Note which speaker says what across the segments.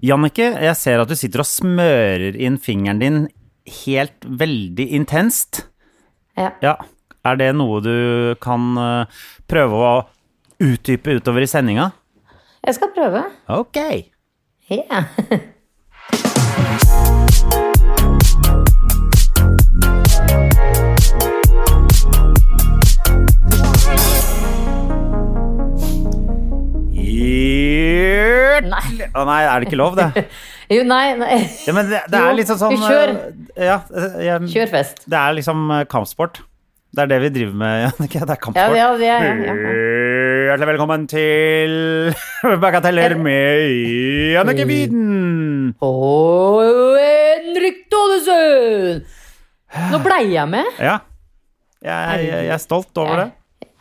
Speaker 1: Jannicke, jeg ser at du sitter og smører inn fingeren din helt veldig intenst.
Speaker 2: Ja.
Speaker 1: Ja, er det noe du kan eh, prøve å utdype utover i sendinga?
Speaker 2: Jeg skal prøve.
Speaker 1: Ok.
Speaker 2: Ja.
Speaker 1: Hjert...
Speaker 2: Nei.
Speaker 1: Å nei, er det ikke lov, det?
Speaker 2: Jo, nei, nei.
Speaker 1: Ja, men det, det er
Speaker 2: Jo,
Speaker 1: liksom sånn
Speaker 2: du kjør.
Speaker 1: eh, Ja, eh, jeg,
Speaker 2: Kjør fest.
Speaker 1: Det er liksom eh, kampsport. Det er det vi driver med, Jannicke. Det er
Speaker 2: Ja,
Speaker 1: kampsport.
Speaker 2: ja, det er- ja, ja.
Speaker 1: Hjertelig velkommen til Bagateller med Jannicke Wieden.
Speaker 2: Åh, Henrik Thodesen! Nå blei jeg med.
Speaker 1: Ja. Jeg, jeg, jeg er stolt over det.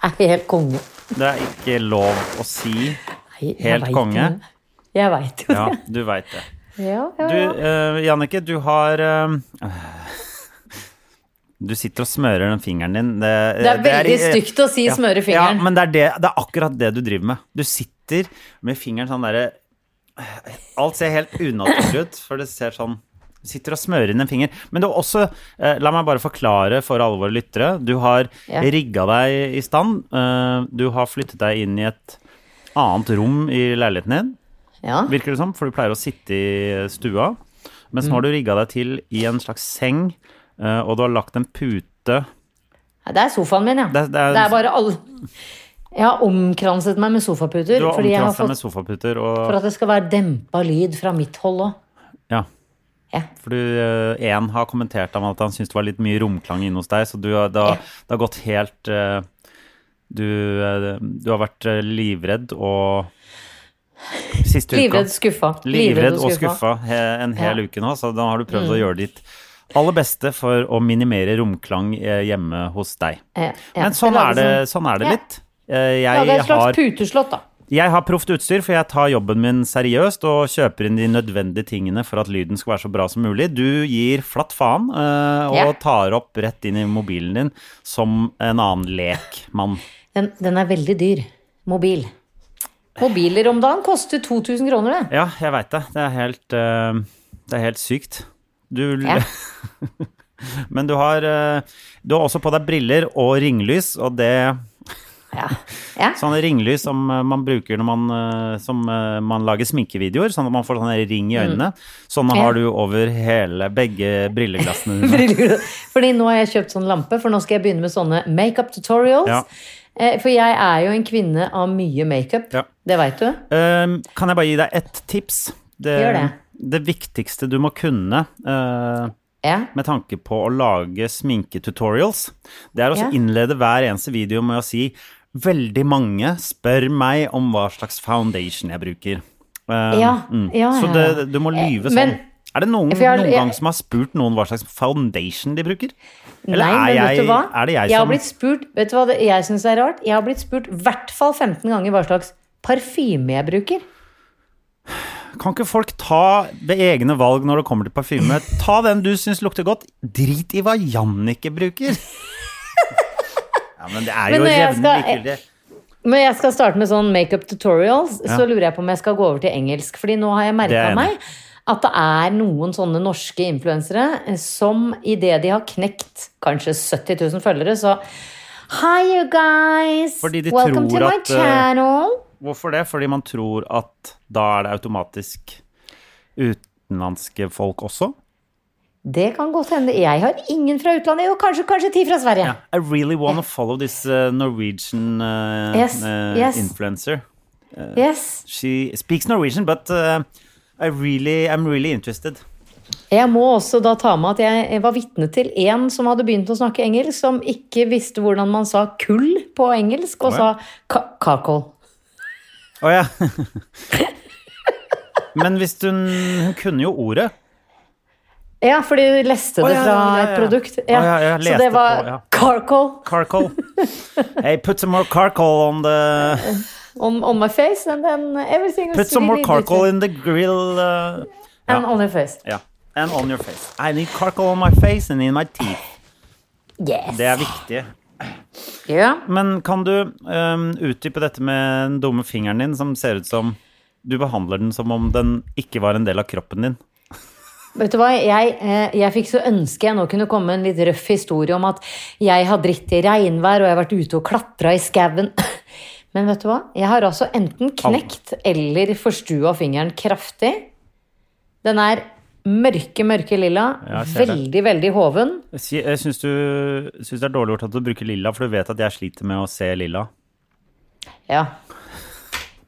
Speaker 2: Jeg er helt konge.
Speaker 1: Det er ikke lov å si.
Speaker 2: Nei, jeg
Speaker 1: Helt
Speaker 2: vet
Speaker 1: konge.
Speaker 2: jo det. Jeg veit jo
Speaker 1: Ja,
Speaker 2: det.
Speaker 1: du veit det.
Speaker 2: Ja, ja,
Speaker 1: Du,
Speaker 2: ja.
Speaker 1: eh, Jannicke, du har eh, Du sitter og smører den fingeren din. Det,
Speaker 2: det er veldig stygt å si
Speaker 1: Ja. Ja,
Speaker 2: 'smøre fingeren'.
Speaker 1: men det er, det, det er akkurat det du driver med. Du sitter med fingeren sånn derre Alt ser helt unaturlig ut, for det ser sånn Du sitter og smører inn en finger. Men du har også eh, La meg bare forklare for alle våre lyttere. Du har
Speaker 2: Ja.
Speaker 1: rigga deg i stand. eh, du har flyttet deg inn i et annet rom i leiligheten din,
Speaker 2: Ja.
Speaker 1: virker det som, for du pleier å sitte i stua. Mens nå
Speaker 2: Mm.
Speaker 1: har du rigga deg til i en slags seng, eh, og du har lagt en pute
Speaker 2: Nei, Det er sofaen min, ja.
Speaker 1: Det- det er-
Speaker 2: Det er bare alle Jeg har omkranset meg med sofaputer.
Speaker 1: Du har
Speaker 2: fordi jeg har
Speaker 1: omkranset deg
Speaker 2: fått
Speaker 1: med sofaputer og
Speaker 2: For at det skal være dempa lyd fra mitt hold òg.
Speaker 1: Ja.
Speaker 2: Ja.
Speaker 1: For du, én har kommentert om at han syntes det var litt mye romklang inne hos deg, så du har, det, har,
Speaker 2: Ja.
Speaker 1: det har gått helt eh, du, eh, du har vært eh, livredd og Siste
Speaker 2: Livredd,
Speaker 1: uka.
Speaker 2: skuffa.
Speaker 1: Livredd og skuffa he, en hel
Speaker 2: Ja. Mm.
Speaker 1: uke nå, så da har du prøvd å gjøre ditt aller beste for å minimere romklang eh, hjemme hos deg.
Speaker 2: Ja, ja.
Speaker 1: Men sånn
Speaker 2: Lage
Speaker 1: er det,
Speaker 2: sånn-
Speaker 1: sånn er det
Speaker 2: Ja.
Speaker 1: litt. Eh,
Speaker 2: Ja, det er
Speaker 1: Jeg
Speaker 2: et slags
Speaker 1: har
Speaker 2: puteslott, da.
Speaker 1: jeg har proft utstyr, for jeg tar jobben min seriøst og kjøper inn de nødvendige tingene for at lyden skal være så bra som mulig. Du gir flatt faen eh, og
Speaker 2: Ja.
Speaker 1: tar opp rett inn i mobilen din som en annen lekmann.
Speaker 2: Den, den er veldig dyr. Mobil. Mobiler om dagen koster 2000 kroner, det.
Speaker 1: Ja, jeg veit det. Det er helt, eh, det er helt sykt. Du
Speaker 2: Ja.
Speaker 1: Men du har, eh, du har også på deg briller og ringlys, og det
Speaker 2: Ja. ja.
Speaker 1: Sånne ringlys som eh, man bruker når man, eh, som, eh, man lager sminkevideoer, sånn at man får sånne ring i øynene. Sånne
Speaker 2: Mm. Ja.
Speaker 1: har du over hele, begge brilleglassene dine.
Speaker 2: Briller. Fordi nå har jeg kjøpt sånn lampe, for nå skal jeg begynne med sånne makeup tutorials.
Speaker 1: Ja.
Speaker 2: Eh, For jeg er jo en kvinne av mye makeup.
Speaker 1: Ja.
Speaker 2: Det veit du.
Speaker 1: Um, kan jeg bare gi deg ett tips?
Speaker 2: Gjør det.
Speaker 1: det viktigste du må kunne eh,
Speaker 2: Ja.
Speaker 1: med tanke på å lage sminketutorials, det er å
Speaker 2: Ja.
Speaker 1: innlede hver eneste video med å si Veldig mange spør meg om hva slags foundation jeg bruker. Um,
Speaker 2: Ja, ja,
Speaker 1: Så
Speaker 2: ja, ja.
Speaker 1: det, du må lyve
Speaker 2: Eh,
Speaker 1: sånn.
Speaker 2: men-
Speaker 1: er det noen,
Speaker 2: For jeg har-
Speaker 1: noen
Speaker 2: jeg-
Speaker 1: gang som har spurt noen hva slags foundation de bruker? Eller
Speaker 2: Nei,
Speaker 1: er,
Speaker 2: men
Speaker 1: jeg,
Speaker 2: vet du hva?
Speaker 1: er det jeg,
Speaker 2: har
Speaker 1: som
Speaker 2: blitt spurt, Vet du hva det, jeg syns er rart? Jeg har blitt spurt i hvert fall 15 ganger hva slags parfyme jeg bruker.
Speaker 1: Kan ikke folk ta ved egne valg når det kommer til parfyme? Ta den du syns lukter godt. Drit i hva Jannicke bruker. Ja, men det er
Speaker 2: Men
Speaker 1: jo
Speaker 2: når jeg
Speaker 1: jevnlig
Speaker 2: skal-
Speaker 1: likegyldig.
Speaker 2: Men jeg skal starte med sånn makeup tutorials, så lurer jeg på om jeg skal gå over til engelsk. Fordi nå har jeg
Speaker 1: Det er
Speaker 2: merka
Speaker 1: jeg enig i.
Speaker 2: meg at det er noen sånne norske influensere som idet de har knekt kanskje 70 000 følgere, så Hi, you guys!
Speaker 1: Fordi de
Speaker 2: Welcome
Speaker 1: tror
Speaker 2: to my
Speaker 1: at, eh,
Speaker 2: channel!
Speaker 1: Hvorfor det? Fordi man tror at da er det automatisk utenlandske folk også?
Speaker 2: Det kan godt hende. Jeg har ingen fra utlandet, og kanskje, kanskje ti fra Sverige.
Speaker 1: I really wanna follow this uh, Norwegian uh,
Speaker 2: Yes,
Speaker 1: uh,
Speaker 2: yes.
Speaker 1: influencer.
Speaker 2: Yes.
Speaker 1: She speaks Norwegian, but uh, I really, I'm really interested.
Speaker 2: Jeg må også da ta med at jeg var vitne til en som hadde begynt å snakke engelsk, som ikke visste hvordan man sa kull på engelsk,
Speaker 1: Å
Speaker 2: og
Speaker 1: ja.
Speaker 2: sa ka- kakol.
Speaker 1: Å ja. Men hvis hun Hun kunne jo ordet.
Speaker 2: Ja, for de leste
Speaker 1: Å,
Speaker 2: det
Speaker 1: ja,
Speaker 2: fra
Speaker 1: ja, ja,
Speaker 2: et
Speaker 1: ja.
Speaker 2: produkt.
Speaker 1: Å, ja, ja, jeg
Speaker 2: Så
Speaker 1: leste
Speaker 2: det var
Speaker 1: på, ja.
Speaker 2: carcoal
Speaker 1: Carcoal. Hey, put some more carcoal on the
Speaker 2: on, on my face and then everything was
Speaker 1: Put some more
Speaker 2: really
Speaker 1: carcoal
Speaker 2: different.
Speaker 1: in the grill. uh,
Speaker 2: And on your face.
Speaker 1: ja. And on your face. I need carcoal on my face and in my teeth.
Speaker 2: Yes.
Speaker 1: Det er viktig.
Speaker 2: Ja.
Speaker 1: Men kan du um, utdype dette med den dumme fingeren din, som ser ut som Du behandler den som om den ikke var en del av kroppen din.
Speaker 2: Vet du hva, jeg, eh, jeg fikk så ønske jeg nå kunne komme med en litt røff historie om at jeg har dritt i regnvær og jeg har vært ute og klatra i skauen. Men vet du hva, jeg har altså enten knekt eller forstua fingeren kraftig. Den er mørke, mørke lilla.
Speaker 1: Ja, jeg ser det.
Speaker 2: Veldig, veldig hoven.
Speaker 1: Jeg sy- Jeg eh, syns du- syns det er dårlig gjort at du bruker lilla, for du vet at jeg sliter med å se lilla.
Speaker 2: Ja.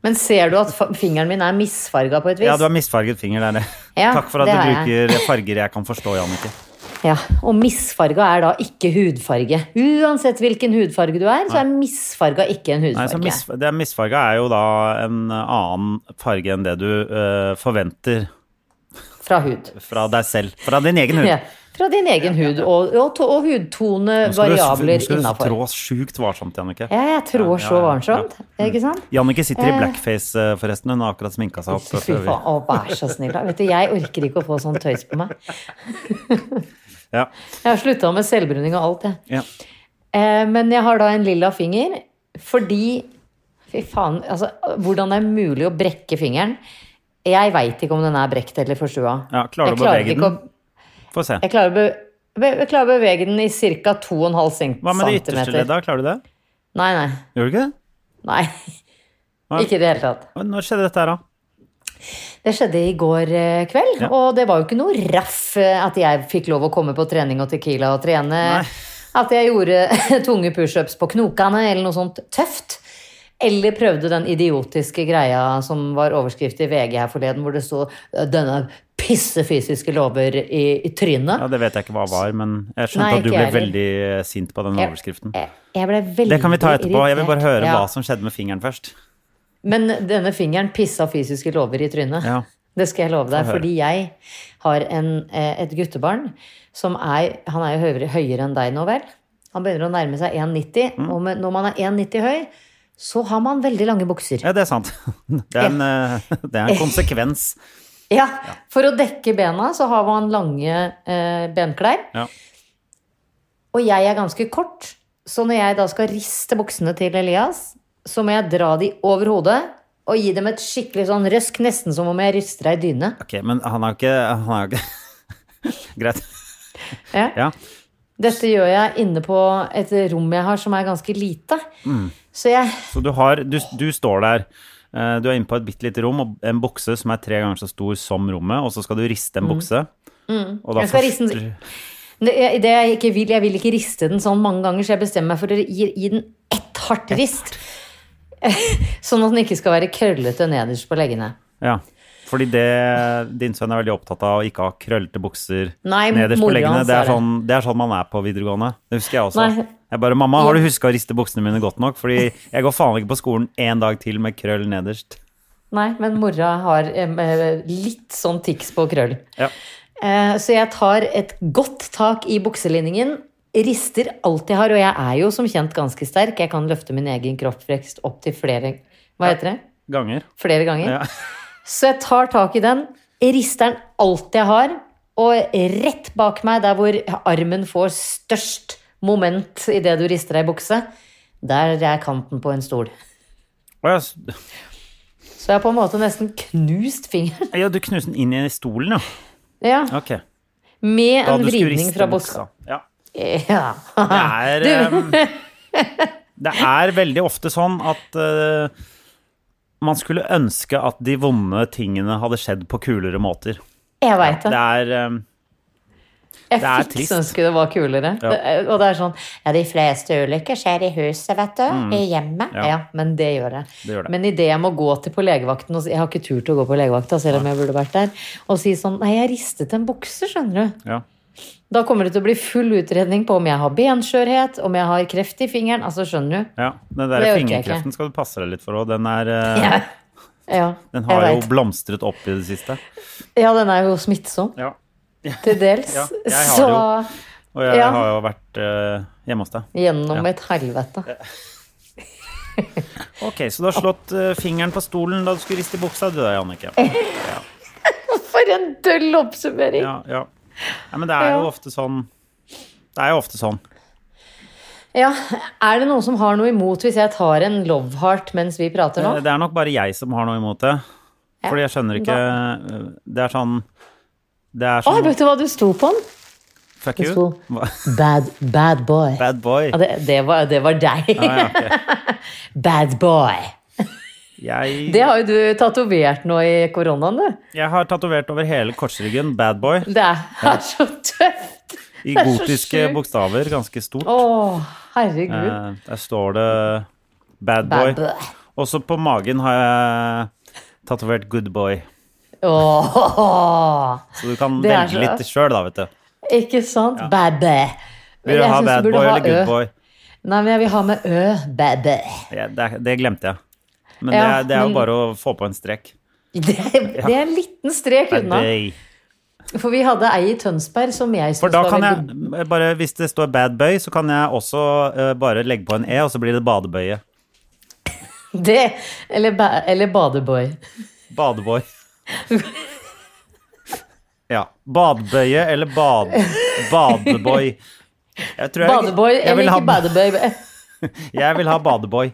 Speaker 2: Men ser du at fa- fingeren min er misfarga på et vis?
Speaker 1: Ja, du har misfarget finger, det er det.
Speaker 2: Ja,
Speaker 1: Takk for at
Speaker 2: det
Speaker 1: du
Speaker 2: har jeg.
Speaker 1: bruker farger jeg kan forstå, Jannicke.
Speaker 2: Ja, og misfarga er da ikke hudfarge. Uansett hvilken hudfarge du er, så er misfarga ikke en
Speaker 1: Nei, så
Speaker 2: hudfarge.
Speaker 1: mis, det er misfarga er jo da en annen farge enn det du eh, forventer
Speaker 2: Fra hud.
Speaker 1: fra deg selv. Fra din egen hud.
Speaker 2: Ja, fra din egen hud og, og, to- og
Speaker 1: Nå skal du- nå
Speaker 2: hudtonevariabler
Speaker 1: skal du
Speaker 2: innafor.
Speaker 1: trå sjukt varsomt, Jannicke.
Speaker 2: Ja, jeg
Speaker 1: Ja,
Speaker 2: trår
Speaker 1: ja,
Speaker 2: så
Speaker 1: ja,
Speaker 2: varsomt. Ikke sant?
Speaker 1: Jannicke sitter i blackface, eh, forresten. Hun har akkurat sminka seg opp.
Speaker 2: Fy
Speaker 1: fra før
Speaker 2: faen,
Speaker 1: vi-
Speaker 2: å vær så snill. da. Vet du, jeg orker ikke å få sånn tøys på meg.
Speaker 1: Ja,
Speaker 2: Jeg har slutta med selvbruning og alt, jeg.
Speaker 1: ja.
Speaker 2: Eh, Men jeg har da en lilla finger fordi Fy faen, altså hvordan det er mulig å brekke fingeren. Jeg veit ikke om den er brekt eller forstua.
Speaker 1: Ja, klarer du
Speaker 2: Jeg
Speaker 1: å bevege
Speaker 2: ikke
Speaker 1: den? Få se.
Speaker 2: Jeg klarer å, be, be, jeg klarer å bevege den i ca. 2,5 cm.
Speaker 1: Hva med det ytterste ledda? Klarer du det?
Speaker 2: Nei, nei.
Speaker 1: Gjør du ikke det?
Speaker 2: nei.
Speaker 1: Nei.
Speaker 2: Ikke i det hele tatt.
Speaker 1: Når skjedde dette her, da?
Speaker 2: Det skjedde i går eh, kveld, og det var jo ikke noe raff eh, at jeg fikk lov å komme på trening og tequila og trene. At jeg gjorde tunge pushups på knokene eller noe sånt tøft. Eller prøvde den idiotiske greia som var overskrift i VG her forleden, hvor det stod 'denne pissefysiske lover i, i trynet'.
Speaker 1: Ja, Det vet jeg ikke hva var, men jeg skjønte
Speaker 2: Nei,
Speaker 1: at du
Speaker 2: ikke
Speaker 1: ble
Speaker 2: jeg heller.
Speaker 1: veldig eh, sint på den
Speaker 2: Jeg-
Speaker 1: overskriften.
Speaker 2: Jeg, jeg ble veldig
Speaker 1: Det kan vi ta etterpå. Jeg vil bare høre
Speaker 2: irritert. Ja.
Speaker 1: hva som skjedde med fingeren først.
Speaker 2: Men denne fingeren pissa fysiske lover i trynet.
Speaker 1: Ja.
Speaker 2: Det skal jeg love deg,
Speaker 1: Få høre.
Speaker 2: fordi jeg har en, eh, et guttebarn som er Han er jo høyere, høyere enn deg nå, vel? Han begynner å nærme seg 1,90.
Speaker 1: Mm.
Speaker 2: Og med, når man er 1,90 høy, så har man veldig lange bukser.
Speaker 1: Ja, det er sant. Det er en, eh, det er en konsekvens.
Speaker 2: Ja, For å dekke bena så har man lange eh, benklær.
Speaker 1: Ja.
Speaker 2: Og jeg er ganske kort, så når jeg da skal riste buksene til Elias, så må jeg dra de over hodet og gi dem et skikkelig sånn røsk, nesten som om jeg rister ei dyne.
Speaker 1: Ok, men han har ikke, han har ikke. Greit.
Speaker 2: Ja.
Speaker 1: Ja.
Speaker 2: Dette gjør jeg inne på et rom jeg har som er ganske lite. Så jeg
Speaker 1: Så du har Du, du står der. eh, Du er inne på et bitte lite rom og en bukse som er tre ganger så stor som rommet, og så skal du riste en bukse. Og da
Speaker 2: Mm. Jeg skal
Speaker 1: først-
Speaker 2: riste den- det, jeg- det jeg, ikke vil, jeg vil ikke riste den sånn mange ganger, så jeg bestemmer meg for å gi, gi den ett hardt rist. Sånn at den ikke skal være krøllete nederst på leggene.
Speaker 1: Ja. Fordi det, din sønn er veldig opptatt av å ikke ha krøllete bukser
Speaker 2: Nei,
Speaker 1: nederst på
Speaker 2: mora
Speaker 1: leggene.
Speaker 2: hans
Speaker 1: Det
Speaker 2: er
Speaker 1: er,
Speaker 2: det.
Speaker 1: sånn, det er sånn man er på videregående. Det husker jeg også.
Speaker 2: Nei.
Speaker 1: Jeg bare, Mamma, har du huska å riste buksene mine godt nok? Fordi jeg går faen ikke på skolen én dag til med krøll nederst.
Speaker 2: Nei, men mora har em, eh, litt sånn tics på krøll.
Speaker 1: Ja.
Speaker 2: Eh, Så jeg tar et godt tak i bukselinningen, rister alt jeg har, og jeg er jo som kjent ganske sterk. Jeg kan løfte min egen kroppsvekst opp til flere Hva heter det?
Speaker 1: Ganger.
Speaker 2: Flere ganger.
Speaker 1: Ja.
Speaker 2: Så jeg tar tak i den, rister den alt jeg har, og rett bak meg, der hvor armen får størst moment idet du rister deg i bukse, der er kanten på en stol.
Speaker 1: Å ja, s-
Speaker 2: Så jeg har på en måte nesten knust fingeren.
Speaker 1: ja, du knuste den inn i stolen, ja.
Speaker 2: Ja,
Speaker 1: Ok.
Speaker 2: med
Speaker 1: Da
Speaker 2: en
Speaker 1: du skulle
Speaker 2: vridning
Speaker 1: riste
Speaker 2: fra buksa.
Speaker 1: Ja.
Speaker 2: Ja.
Speaker 1: Det er, em, det er veldig ofte sånn at eh, man skulle ønske at de vonde tingene hadde skjedd på kulere måter.
Speaker 2: Jeg veit
Speaker 1: Det
Speaker 2: det.
Speaker 1: er ehm, em,
Speaker 2: Jeg
Speaker 1: det er
Speaker 2: fikk
Speaker 1: trist.
Speaker 2: ønske det var kulere. Det er- Og det er sånn Ja, de fleste ulykker skjer i huset, vet du. I hjemmet. Ja.
Speaker 1: Mm. Ja.
Speaker 2: men det gjør jeg.
Speaker 1: Det gjør det.
Speaker 2: Men idet jeg må gå til på legevakten og si Jeg har ikke tur til å gå på legevakta, selv om jeg burde vært der. Og si sånn Nei, jeg ristet en bukse, skjønner du.
Speaker 1: ja.
Speaker 2: Da kommer det til å bli full utredning på om jeg har benskjørhet, om jeg har kreft i fingeren. Altså, skjønner du?
Speaker 1: Ja, den
Speaker 2: Det
Speaker 1: der
Speaker 2: orker jeg
Speaker 1: fingerkreften skal du passe deg litt for òg. Den er eh,
Speaker 2: Ja. Ja,
Speaker 1: Den
Speaker 2: jeg
Speaker 1: har jo
Speaker 2: vet.
Speaker 1: blomstret opp i det siste.
Speaker 2: Ja, den er jo smittsom,
Speaker 1: Ja.
Speaker 2: til dels.
Speaker 1: Ja, jeg har
Speaker 2: så
Speaker 1: Og jeg
Speaker 2: Ja.
Speaker 1: har jo vært eh, hjemme hos deg.
Speaker 2: gjennom
Speaker 1: Ja.
Speaker 2: et helvete.
Speaker 1: Ok, så du har slått eh, fingeren på stolen da du skulle riste i buksa, du da, Jannicke.
Speaker 2: For en døll oppsummering! Ja.
Speaker 1: Ja, ja. Nei, men det er jo
Speaker 2: Ja.
Speaker 1: ofte sånn. Det er jo ofte sånn.
Speaker 2: Er det noen som har noe imot hvis jeg tar en love heart mens vi prater nå?
Speaker 1: Eh, Det er nok bare jeg som har noe imot det.
Speaker 2: Ja.
Speaker 1: Fordi jeg skjønner ikke eh, Det er sånn Det er
Speaker 2: Å,
Speaker 1: sånn
Speaker 2: vet du hva du sto på den?
Speaker 1: Fuck
Speaker 2: det
Speaker 1: you.
Speaker 2: sto-
Speaker 1: Hva-
Speaker 2: Bad, bad boy.
Speaker 1: Bad boy.
Speaker 2: Ja, det, det, var, det var deg.
Speaker 1: Ja, ja, ok.
Speaker 2: Bad boy.
Speaker 1: Jeg,
Speaker 2: Det har jo du tatovert nå i koronaen, du.
Speaker 1: jeg har tatovert over hele korsryggen 'bad boy'
Speaker 2: Det er er så tøft!
Speaker 1: i
Speaker 2: Det er så
Speaker 1: gotiske
Speaker 2: sjukt.
Speaker 1: bokstaver, ganske stort.
Speaker 2: Å,
Speaker 1: Eh,
Speaker 2: herregud.
Speaker 1: Der står det 'bad
Speaker 2: Bad
Speaker 1: boy'.
Speaker 2: boy.
Speaker 1: Også på magen har jeg tatovert 'good boy'.
Speaker 2: Åh,
Speaker 1: Så du kan
Speaker 2: Det er
Speaker 1: velge
Speaker 2: så-
Speaker 1: litt sjøl, da, vet du.
Speaker 2: ikke sant? Bad boy. Men
Speaker 1: Vil du
Speaker 2: jeg
Speaker 1: ha
Speaker 2: synes
Speaker 1: bad
Speaker 2: burde
Speaker 1: boy
Speaker 2: ha
Speaker 1: eller good
Speaker 2: Ø.
Speaker 1: boy?
Speaker 2: Nei, men jeg vil ha med Ø. Bad boy.
Speaker 1: Ja, det, er- det glemte jeg. Men det,
Speaker 2: Ja,
Speaker 1: er, det er jo
Speaker 2: men-
Speaker 1: bare å få på en strek.
Speaker 2: Det, det er en liten strek
Speaker 1: Bad
Speaker 2: unna.
Speaker 1: boy.
Speaker 2: For vi hadde ei i Tønsberg som jeg
Speaker 1: For
Speaker 2: syntes
Speaker 1: da
Speaker 2: var
Speaker 1: kan
Speaker 2: veldig
Speaker 1: jeg eh, bare, hvis det står bad boy, så kan jeg også eh, bare legge på en e, og så blir det badebøye.
Speaker 2: Det, eller, ba, eller badeboy.
Speaker 1: Badeboy. ja. Badebøye eller bad... Badeboy. Jeg tror jeg,
Speaker 2: Badeboy
Speaker 1: jeg vil
Speaker 2: eller
Speaker 1: ha-
Speaker 2: ikke badeboy.
Speaker 1: Jeg vil ha badeboy.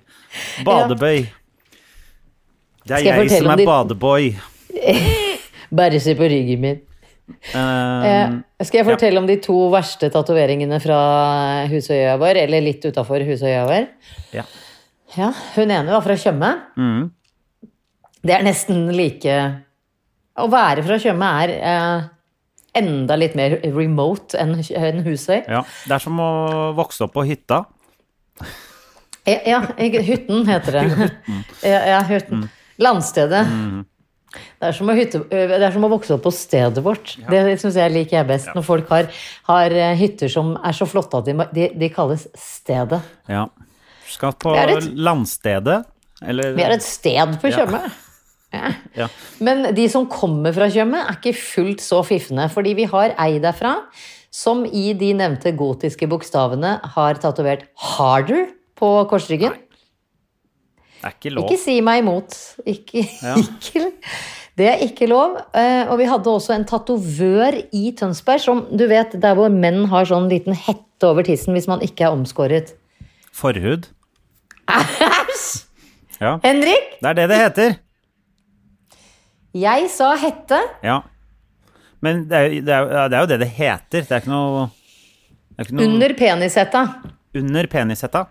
Speaker 1: Badebøy. Det er
Speaker 2: Skal jeg
Speaker 1: jeg, som
Speaker 2: fortelle om
Speaker 1: er
Speaker 2: ditt-
Speaker 1: badeboy.
Speaker 2: Bare se på ryggen min. Eh,
Speaker 1: Eh,
Speaker 2: skal jeg fortelle om de to verste tatoveringene fra Husøya vår? Eller litt utafor Husøya vår?
Speaker 1: Ja. Mm.
Speaker 2: Ja, Hun ene var fra Tjøme. Det er nesten like Å være fra Tjøme er eh, enda litt mer remote enn enn Husøy.
Speaker 1: ja. Det er som å vokse opp på hytta.
Speaker 2: Ja, ja ikke- Hytten Mm. heter det. Ja, ja Hytten. Landstedet. Det er, som å hytte, det er som å vokse opp på stedet vårt. Det syns jeg liker jeg best. Når folk har, har eh, hytter som er så flotte at de, de, de kalles stedet.
Speaker 1: Ja. Skal på
Speaker 2: Vi er et-
Speaker 1: landstedet. Eller
Speaker 2: Vi har et sted på Tjøme.
Speaker 1: ja.
Speaker 2: Men de som kommer fra Tjøme, er ikke fullt så fiffende. Fordi vi har ei derfra som i de nevnte gotiske bokstavene har tatovert 'harder' på korsryggen.
Speaker 1: Det er ikke lov.
Speaker 2: Ikke si meg imot. Ikke,
Speaker 1: Ja.
Speaker 2: ikke, det er ikke lov. Eh, Og vi hadde også en tatovør i Tønsberg, som du vet, der hvor menn har sånn liten hette over tissen hvis man ikke er omskåret.
Speaker 1: Forhud. Ja.
Speaker 2: Henrik,
Speaker 1: Det er det det heter.
Speaker 2: jeg sa hette.
Speaker 1: Ja. Men det er, jo- det, er, jo- det er jo det det heter. Det er ikke noe, det er ikke noe
Speaker 2: Under penishetta.
Speaker 1: under penishetta.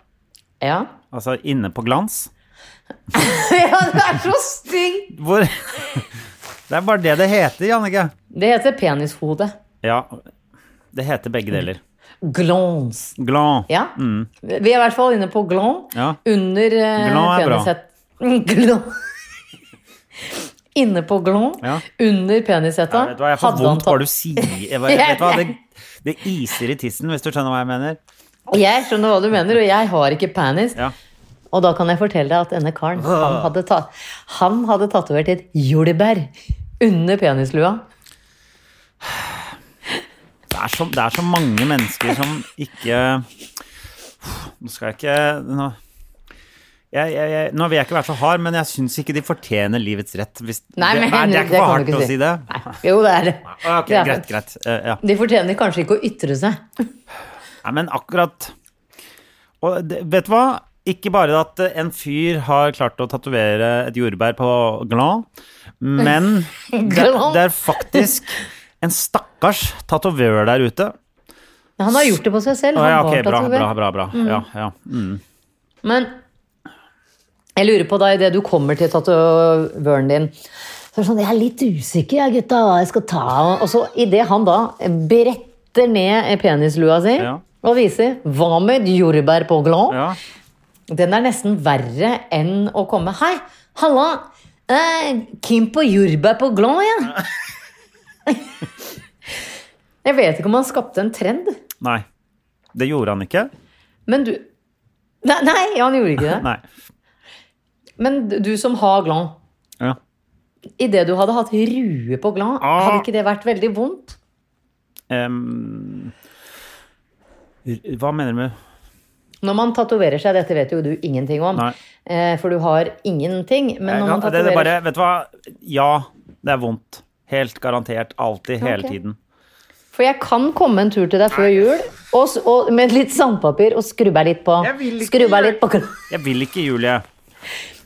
Speaker 2: Ja.
Speaker 1: Altså inne på glans.
Speaker 2: ja, det er så stygt!
Speaker 1: Hvor Det er bare det det heter, Jannicke.
Speaker 2: Det heter penishode.
Speaker 1: Ja. Det heter begge deler.
Speaker 2: Glons.
Speaker 1: Glan.
Speaker 2: Ja. Vi er i hvert fall inne på glon.
Speaker 1: Mm. Ja.
Speaker 2: Under eh,
Speaker 1: Glon er bra.
Speaker 2: penishett... Glon. inne på glon.
Speaker 1: Ja.
Speaker 2: Under penishetta.
Speaker 1: Nei, vet du hva, jeg får
Speaker 2: hadde han
Speaker 1: vondt
Speaker 2: tatt-
Speaker 1: hva du sier. Jeg bare- Vet du hva, det, det iser i tissen, hvis du skjønner hva jeg mener.
Speaker 2: Jeg skjønner hva du mener, og jeg har ikke penis.
Speaker 1: Ja.
Speaker 2: Og da kan jeg fortelle deg at denne karen, han hadde, ta, han hadde tatovert et jordbær under penislua.
Speaker 1: Det er, så, det er så mange mennesker som ikke Nå skal jeg ikke Nå, jeg, jeg, jeg, nå vil jeg ikke være så hard, men jeg syns ikke de fortjener livets rett. Hvis,
Speaker 2: Nei, men
Speaker 1: det, nei, det er
Speaker 2: Henrik,
Speaker 1: ikke for
Speaker 2: kan
Speaker 1: hardt
Speaker 2: du ikke
Speaker 1: å si det.
Speaker 2: Nei, jo, det er det.
Speaker 1: Ah, Ok,
Speaker 2: det er-
Speaker 1: greit, greit. Eh, ja.
Speaker 2: De fortjener kanskje ikke å ytre seg.
Speaker 1: Nei, men akkurat Og det, vet du hva? Ikke bare at eh, en fyr har klart å tatovere et jordbær på glan, men det,
Speaker 2: Glan?
Speaker 1: det er faktisk en stakkars tatovør der ute.
Speaker 2: Men Han har gjort det på seg selv.
Speaker 1: Å, ja,
Speaker 2: Han
Speaker 1: ok,
Speaker 2: var
Speaker 1: bra,
Speaker 2: tatovert.
Speaker 1: bra, bra. bra. Ja, ja. Mm.
Speaker 2: Men jeg lurer på da, idet du kommer til tatovøren din så er det sånn, Jeg er litt usikker, jeg, gutta, hva jeg skal ta. Og så idet han da bretter ned penislua si
Speaker 1: Ja.
Speaker 2: og viser Hva med et jordbær på glan?
Speaker 1: Ja.
Speaker 2: Den er nesten verre enn å komme Hei, halla! Eh, Kim på jordbær på glan igjen! jeg vet ikke om han skapte en trend,
Speaker 1: Nei. Det gjorde han ikke.
Speaker 2: men du Nei, nei han gjorde ikke det.
Speaker 1: Nei.
Speaker 2: Men du som har glan,
Speaker 1: Ja.
Speaker 2: Idet du hadde hatt rue på glad,
Speaker 1: Ah.
Speaker 2: hadde ikke det vært veldig vondt?
Speaker 1: Ehm, r- hva mener du med
Speaker 2: Når man tatoverer seg, dette vet jo du ingenting om,
Speaker 1: Nei.
Speaker 2: eh, for du har ingenting, men når man
Speaker 1: det, det
Speaker 2: tatoverer
Speaker 1: er bare, Vet du hva? Ja, det er vondt. Helt garantert. Alltid. Hele
Speaker 2: Ok.
Speaker 1: tiden.
Speaker 2: For jeg kan komme en tur til deg før jul og, s- og, med litt sandpapir og skrubbe deg litt på.
Speaker 1: Jeg vil ikke
Speaker 2: Skrubbe deg
Speaker 1: gjøre-
Speaker 2: litt på glad.
Speaker 1: Jeg vil ikke Julie.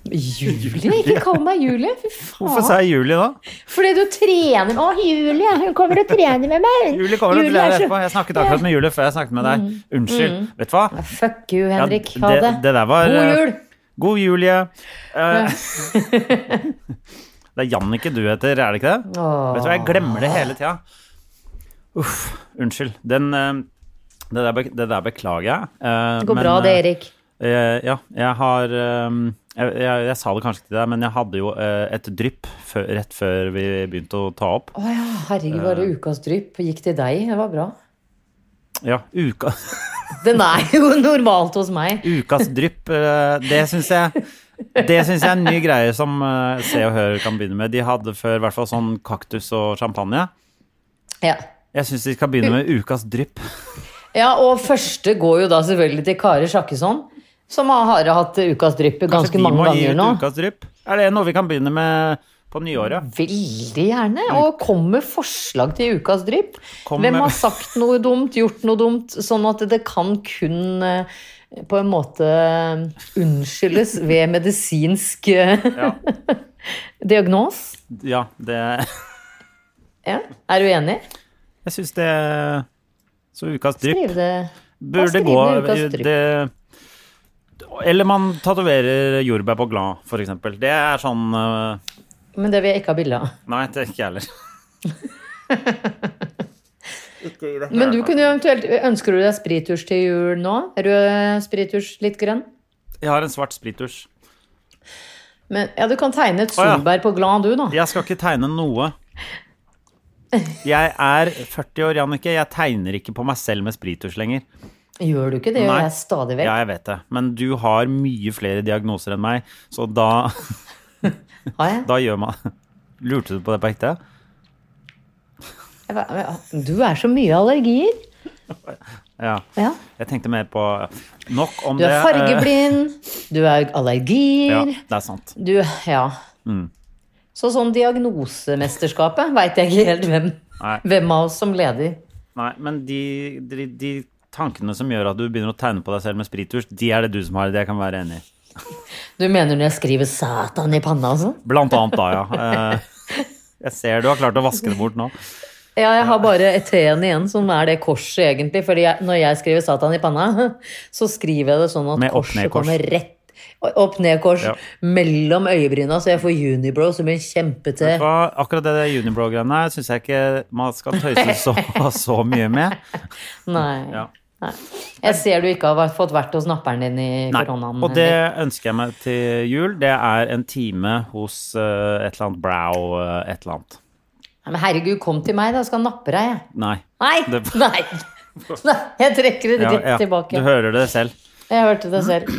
Speaker 2: Julie? Ikke kall meg Julie. Fy
Speaker 1: Hvorfor
Speaker 2: faen.
Speaker 1: sa jeg Julie da?
Speaker 2: Fordi du trener med Å, Julie, hun kommer og trener med meg.
Speaker 1: Julie kommer til å
Speaker 2: er
Speaker 1: lære
Speaker 2: så-
Speaker 1: etterpå. Jeg snakket akkurat med Julie før jeg snakket med deg. Unnskyld. Vet du hva?
Speaker 2: Fuck you,
Speaker 1: Ja,
Speaker 2: Henrik. Ha det.
Speaker 1: det der var
Speaker 2: God
Speaker 1: eh,
Speaker 2: jul.
Speaker 1: God jul, Julie. Eh, det er Jannicke du heter, er det ikke det?
Speaker 2: Åh.
Speaker 1: Vet du hva, jeg glemmer det hele tida. Uff. Unnskyld. Den, eh, det, der, bek- det der beklager jeg. Eh,
Speaker 2: Det går
Speaker 1: men,
Speaker 2: bra det,
Speaker 1: eh,
Speaker 2: Erik.
Speaker 1: Eh, ja, jeg har eh, jeg, jeg, jeg sa det kanskje ikke til deg, men jeg hadde jo eh, et drypp før, rett før vi begynte å ta opp.
Speaker 2: Å ja, herregud, var
Speaker 1: Eh.
Speaker 2: det ukas drypp? Gikk til deg? Det var bra.
Speaker 1: Ja, uka,
Speaker 2: Den er jo normalt hos meg.
Speaker 1: ukas drypp, eh, det syns jeg det synes jeg er en ny greie som eh, Se og Hør kan begynne med. De hadde før i hvert fall sånn kaktus og champagne.
Speaker 2: Ja.
Speaker 1: Jeg syns de skal begynne med ukas drypp.
Speaker 2: ja, og første går jo da selvfølgelig til Kari Sjakkesson, som har hatt ukas drypp
Speaker 1: Kanskje
Speaker 2: ganske
Speaker 1: de
Speaker 2: mange
Speaker 1: må gi
Speaker 2: ganger
Speaker 1: ut
Speaker 2: nå.
Speaker 1: Ukas drypp? Er det noe vi kan begynne med på nyåret?
Speaker 2: Veldig gjerne. Og kom med forslag til ukas drypp.
Speaker 1: Kom
Speaker 2: Hvem
Speaker 1: med-
Speaker 2: har sagt noe dumt, gjort noe dumt, sånn at det kan kun eh, på en måte unnskyldes ved medisinsk eh,
Speaker 1: Ja.
Speaker 2: diagnos?
Speaker 1: ja det
Speaker 2: Ja. Er du enig?
Speaker 1: Jeg syns det Så ukas drypp
Speaker 2: Skriv det.
Speaker 1: burde
Speaker 2: skriv
Speaker 1: gå
Speaker 2: det ukas drypp.
Speaker 1: det, Eller man tatoverer jordbær på glad, for eksempel. Det er sånn øh,
Speaker 2: Men det vil jeg ikke ha bilde av.
Speaker 1: Nei, det er ikke jeg heller.
Speaker 2: Men du kunne jo eventuelt Ønsker du deg sprittusj til jul nå? Rød sprittusj, litt grønn?
Speaker 1: Jeg har en svart sprittusj.
Speaker 2: Men, ja, du kan tegne et
Speaker 1: Å, ja.
Speaker 2: solbær på glad, du, da.
Speaker 1: Jeg skal ikke tegne noe. Jeg er 40 år, Jannicke. Jeg tegner ikke på meg selv med sprittusj lenger.
Speaker 2: Gjør du ikke det? Gjør
Speaker 1: Nei.
Speaker 2: jeg stadig vekk.
Speaker 1: Ja, jeg vet det. Men du har mye flere diagnoser enn meg, så da,
Speaker 2: Har jeg?
Speaker 1: da gjør man Lurte du på det på ekte?
Speaker 2: Jeg bare, Du er så mye allergier.
Speaker 1: Ja.
Speaker 2: Ja.
Speaker 1: Jeg tenkte mer på Nok om
Speaker 2: Du
Speaker 1: det.
Speaker 2: er fargeblind, du er
Speaker 1: eh, Ja, Mm.
Speaker 2: allergier,
Speaker 1: det er sant.
Speaker 2: du Ja. Så sånn diagnosemesterskapet veit jeg ikke helt hvem,
Speaker 1: Nei.
Speaker 2: hvem av oss som leder.
Speaker 1: Nei, men de, de, de tankene som gjør at du begynner å tegne på deg selv med sprittusj, de er det du som har, det jeg kan være enig i.
Speaker 2: Du mener når jeg skriver 'Satan' i panna og sånn?
Speaker 1: Blant annet da, ja. Eh, Jeg ser du har klart å vaske det bort nå.
Speaker 2: Ja, jeg har bare T-en igjen, som er det korset, egentlig. Fordi jeg, når jeg skriver 'Satan' i panna, så skriver jeg det sånn at
Speaker 1: Med opp-
Speaker 2: korset
Speaker 1: ned-kors.
Speaker 2: kommer rett opp-ned-kors
Speaker 1: Ja.
Speaker 2: mellom øyebryna, så jeg får unibrow som en kjempete
Speaker 1: Hva, akkurat det der Unibrow-greiene her syns jeg ikke man skal tøyse så, så mye med.
Speaker 2: Nei.
Speaker 1: Ja.
Speaker 2: Nei. Jeg ser du ikke har fått vært hos napperen din i
Speaker 1: Nei.
Speaker 2: koronaen.
Speaker 1: Og det
Speaker 2: Henrik.
Speaker 1: ønsker jeg meg til jul. Det er en time hos eh, et eller annet brow eh, et eller annet.
Speaker 2: Nei, Men herregud, kom til meg, da. Jeg skal nappe deg, jeg.
Speaker 1: Nei.
Speaker 2: Nei!
Speaker 1: Det-
Speaker 2: Nei. Nei! Jeg trekker det
Speaker 1: Ja,
Speaker 2: rett
Speaker 1: ja,
Speaker 2: tilbake.
Speaker 1: Du hører det selv.
Speaker 2: Jeg hørte det selv.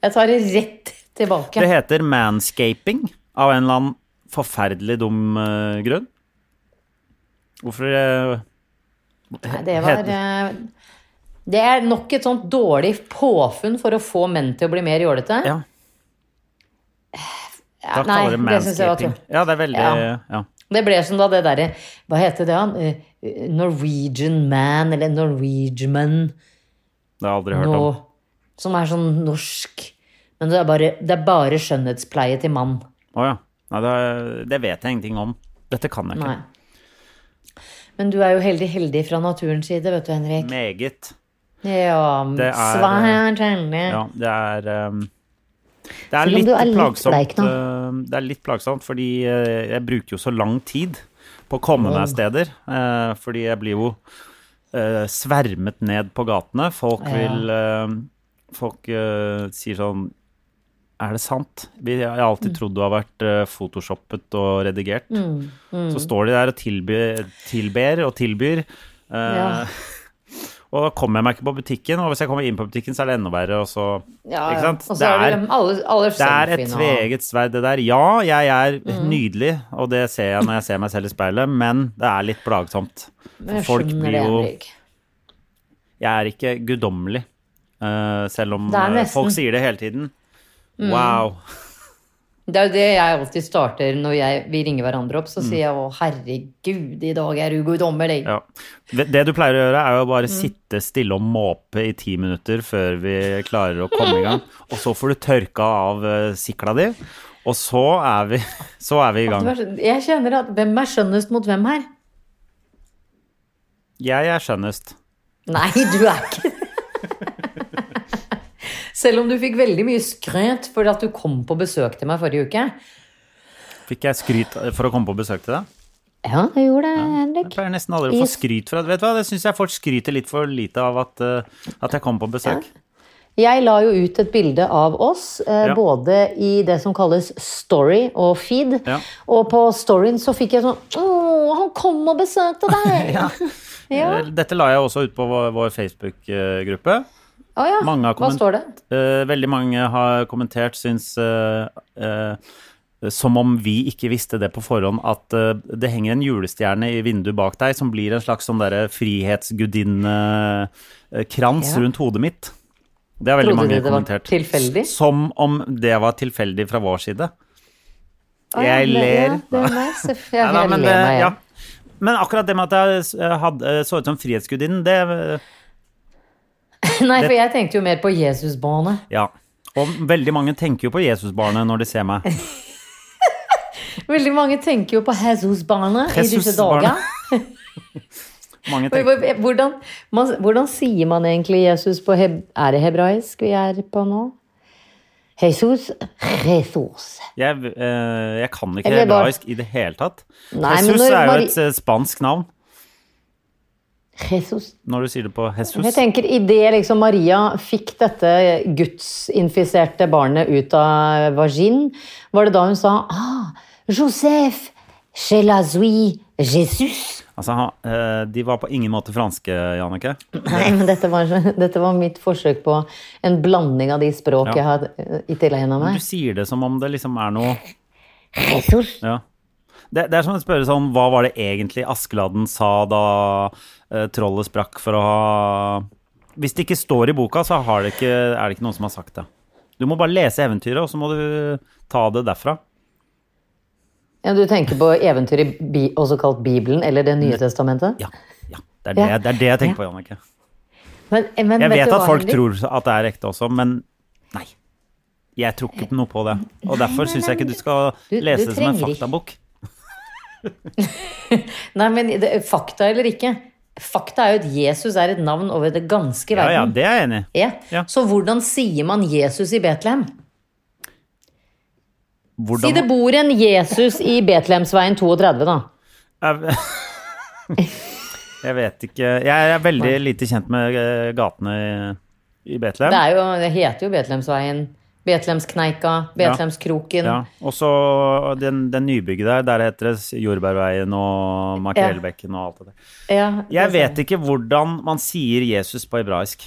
Speaker 2: Jeg tar det rett tilbake.
Speaker 1: Det heter manscaping av en eller annen forferdelig dum eh, grunn. Hvorfor eh,
Speaker 2: Nei, det var
Speaker 1: heter-
Speaker 2: eh, Det er nok et sånt dårlig påfunn for å få menn til å bli mer jålete.
Speaker 1: Ja,
Speaker 2: Ja,
Speaker 1: da kaller det
Speaker 2: det synes jeg var
Speaker 1: manscaping.
Speaker 2: tull.
Speaker 1: Ja, det er veldig
Speaker 2: Ja.
Speaker 1: ja.
Speaker 2: Det ble som da det derre Hva heter det, han? Eh, Norwegian man, eller Norwegian man.
Speaker 1: Det har jeg aldri hørt
Speaker 2: nå,
Speaker 1: om.
Speaker 2: som er sånn norsk. Men det er bare, det er bare skjønnhetspleie til mann.
Speaker 1: Å ja. Nei, det, det vet jeg ingenting om. Dette kan jeg ikke.
Speaker 2: Nei. Men du er jo heldig, heldig fra naturens side, vet du, Henrik.
Speaker 1: Meget.
Speaker 2: Ja,
Speaker 1: Det er, eh,
Speaker 2: svært heldig.
Speaker 1: Ja, det er ehm, Det er
Speaker 2: Selv om
Speaker 1: litt
Speaker 2: du er litt
Speaker 1: plagsomt.
Speaker 2: bleik nå.
Speaker 1: eh, det er litt plagsomt, fordi eh, jeg bruker jo så lang tid på å komme meg steder. eh, fordi jeg blir jo eh, svermet ned på gatene. Folk
Speaker 2: Ja.
Speaker 1: vil eh, Folk eh, sier sånn Er det sant? Vi, jeg har
Speaker 2: Mm.
Speaker 1: alltid trodd du har vært eh, photoshoppet og redigert.
Speaker 2: mm.
Speaker 1: Så står de der og tilbyr, tilber og tilbyr. eh,
Speaker 2: Ja.
Speaker 1: Og da kommer jeg meg ikke på butikken, og hvis jeg kommer inn på butikken, så er det enda verre, og så
Speaker 2: Ja,
Speaker 1: Ikke sant?
Speaker 2: Og så er det, dem alle, alle
Speaker 1: det er et
Speaker 2: selfiene og-
Speaker 1: tveegget sverd, det der. Ja, jeg er
Speaker 2: Mm.
Speaker 1: nydelig, og det ser jeg når jeg ser meg selv i speilet, men det er litt plagsomt.
Speaker 2: Men jeg
Speaker 1: For folk
Speaker 2: skjønner
Speaker 1: blir
Speaker 2: det,
Speaker 1: jo
Speaker 2: Henrik.
Speaker 1: Jeg er ikke guddommelig, eh, selv om
Speaker 2: Det er
Speaker 1: eh, folk
Speaker 2: nesten. Mm.
Speaker 1: sier det hele tiden. Wow.
Speaker 2: Det er jo det jeg alltid starter når jeg, vi ringer hverandre opp. Så sier jeg 'Å, herregud, i dag er du
Speaker 1: Mm.
Speaker 2: guddommelig'.
Speaker 1: Ja. Det du pleier å gjøre, er jo bare
Speaker 2: Mm.
Speaker 1: sitte stille og måpe i ti minutter før vi klarer å komme i gang. Og så får du tørka av eh, sikla di, og så er vi, så er vi i gang.
Speaker 2: Det var sånn- Jeg kjenner at hvem er skjønnest mot hvem her?
Speaker 1: Jeg er skjønnest.
Speaker 2: Nei, du er ikke det. Selv om du fikk veldig mye skrøt for at du kom på besøk til meg forrige uke.
Speaker 1: Fikk jeg skryt for å komme på besøk til deg?
Speaker 2: Ja, det gjorde det,
Speaker 1: Jeg
Speaker 2: Henrik.
Speaker 1: pleier nesten aldri å få skryt for at Vet du hva, det syns jeg folk skryter litt for lite av at, eh, at jeg kom på besøk.
Speaker 2: Jeg la jo ut et bilde av oss, eh,
Speaker 1: Ja.
Speaker 2: både i det som kalles story og feed.
Speaker 1: Ja.
Speaker 2: Og på storyen så fikk jeg sånn Å, han kom og besøkte deg! ja.
Speaker 1: Eh, Dette la jeg også ut på vår vår eh, Facebook-gruppe.
Speaker 2: Å ja.
Speaker 1: Mange har
Speaker 2: Hva
Speaker 1: komment-
Speaker 2: står det?
Speaker 1: Eh, veldig mange har kommentert, syns eh, eh, som om vi ikke visste det på forhånd, at eh, det henger en julestjerne i vinduet bak deg som blir en slags sånn derre frihetsgudinne-krans
Speaker 2: Ja.
Speaker 1: rundt hodet mitt. Det har veldig
Speaker 2: Trodde
Speaker 1: mange
Speaker 2: du det var
Speaker 1: kommentert.
Speaker 2: tilfeldig?
Speaker 1: S- Som om det var tilfeldig fra vår side.
Speaker 2: Å ja,
Speaker 1: Jeg
Speaker 2: det-
Speaker 1: ler.
Speaker 2: Ja, det er meg. Seff- ja,
Speaker 1: Nei da,
Speaker 2: jeg
Speaker 1: men,
Speaker 2: ler
Speaker 1: det-
Speaker 2: meg igjen.
Speaker 1: ja. men akkurat det med at jeg eh, hadde, så ut som Frihetsgudinnen, det eh,
Speaker 2: Nei, for jeg tenkte jo mer på Jesusbarnet.
Speaker 1: Ja. Og veldig mange tenker jo på Jesusbarnet når de ser meg.
Speaker 2: Veldig mange tenker jo på Jesusbarnet i disse
Speaker 1: Jesusbarnet.
Speaker 2: dager.
Speaker 1: Mange
Speaker 2: Hvor-
Speaker 1: tenker,
Speaker 2: hvor- Hvordan, man, hvordan sier man egentlig Jesus på heb Er det hebraisk vi er på nå? Jesus, Jesus.
Speaker 1: jeg, eh, jeg kan ikke
Speaker 2: Eller bare-
Speaker 1: hebraisk i det hele tatt.
Speaker 2: Nei, men
Speaker 1: Jesus
Speaker 2: når
Speaker 1: er jo
Speaker 2: Mari-
Speaker 1: et eh, spansk navn
Speaker 2: Jesus.
Speaker 1: når du sier det på
Speaker 2: Jeg
Speaker 1: Jesus.
Speaker 2: tenker Idet liksom Maria fikk dette gudsinfiserte barnet ut av vagin, var det da hun sa ah, Joseph, Chelazui, Jesus.
Speaker 1: Altså, han, eh, de var på ingen måte franske, Jannicke.
Speaker 2: Nei, men dette var, dette var mitt forsøk på en blanding av de språk
Speaker 1: Ja.
Speaker 2: jeg har eh, ikke tilegna
Speaker 1: Du
Speaker 2: meg.
Speaker 1: sier det som om det liksom er noe
Speaker 2: Jesus.
Speaker 1: ja. det, det er som å spørre sånn Hva var det egentlig Askeladden sa da eh, trollet sprakk for å ha Hvis det ikke står i boka, så har det ikke, er det ikke noen som har sagt det. Du må bare lese eventyret, og så må du ta det derfra.
Speaker 2: Ja, du tenker på eventyr i bi, også kalt Bibelen, eller Det nye testamentet?
Speaker 1: Ja. ja. Det, er det,
Speaker 2: Ja.
Speaker 1: det er det jeg tenker på, Jannicke.
Speaker 2: Men, men
Speaker 1: Jeg
Speaker 2: vet
Speaker 1: vet
Speaker 2: du
Speaker 1: at
Speaker 2: hva,
Speaker 1: folk
Speaker 2: Henrik?
Speaker 1: tror at det er ekte også, men nei. Jeg tror ikke noe på det. Og derfor syns jeg ikke du skal
Speaker 2: Du-
Speaker 1: lese
Speaker 2: du
Speaker 1: det som en
Speaker 2: trenger ikke.
Speaker 1: faktabok.
Speaker 2: Nei, men det, fakta eller ikke. Fakta er jo at Jesus er et navn over det ganske
Speaker 1: Ja, ja,
Speaker 2: verden.
Speaker 1: det er jeg enig i.
Speaker 2: Ja.
Speaker 1: Ja.
Speaker 2: Så hvordan sier man Jesus i Betlehem? Si det
Speaker 1: Hvordan
Speaker 2: bor en Jesus i Betlehemsveien 32, da.
Speaker 1: Jeg- Jeg vet ikke Jeg er veldig lite kjent med eh, gatene i i
Speaker 2: Det,
Speaker 1: Betlehem.
Speaker 2: er jo, det heter jo Betlehemsveien. Betlehemskneika, Betlehemskroken.
Speaker 1: Ja, og så den, den nybygget der, der heter det Jordbærveien og Makrellbekken og alt det der.
Speaker 2: Ja,
Speaker 1: Jeg
Speaker 2: det er
Speaker 1: vet ikke hvordan man sier Jesus på hebraisk.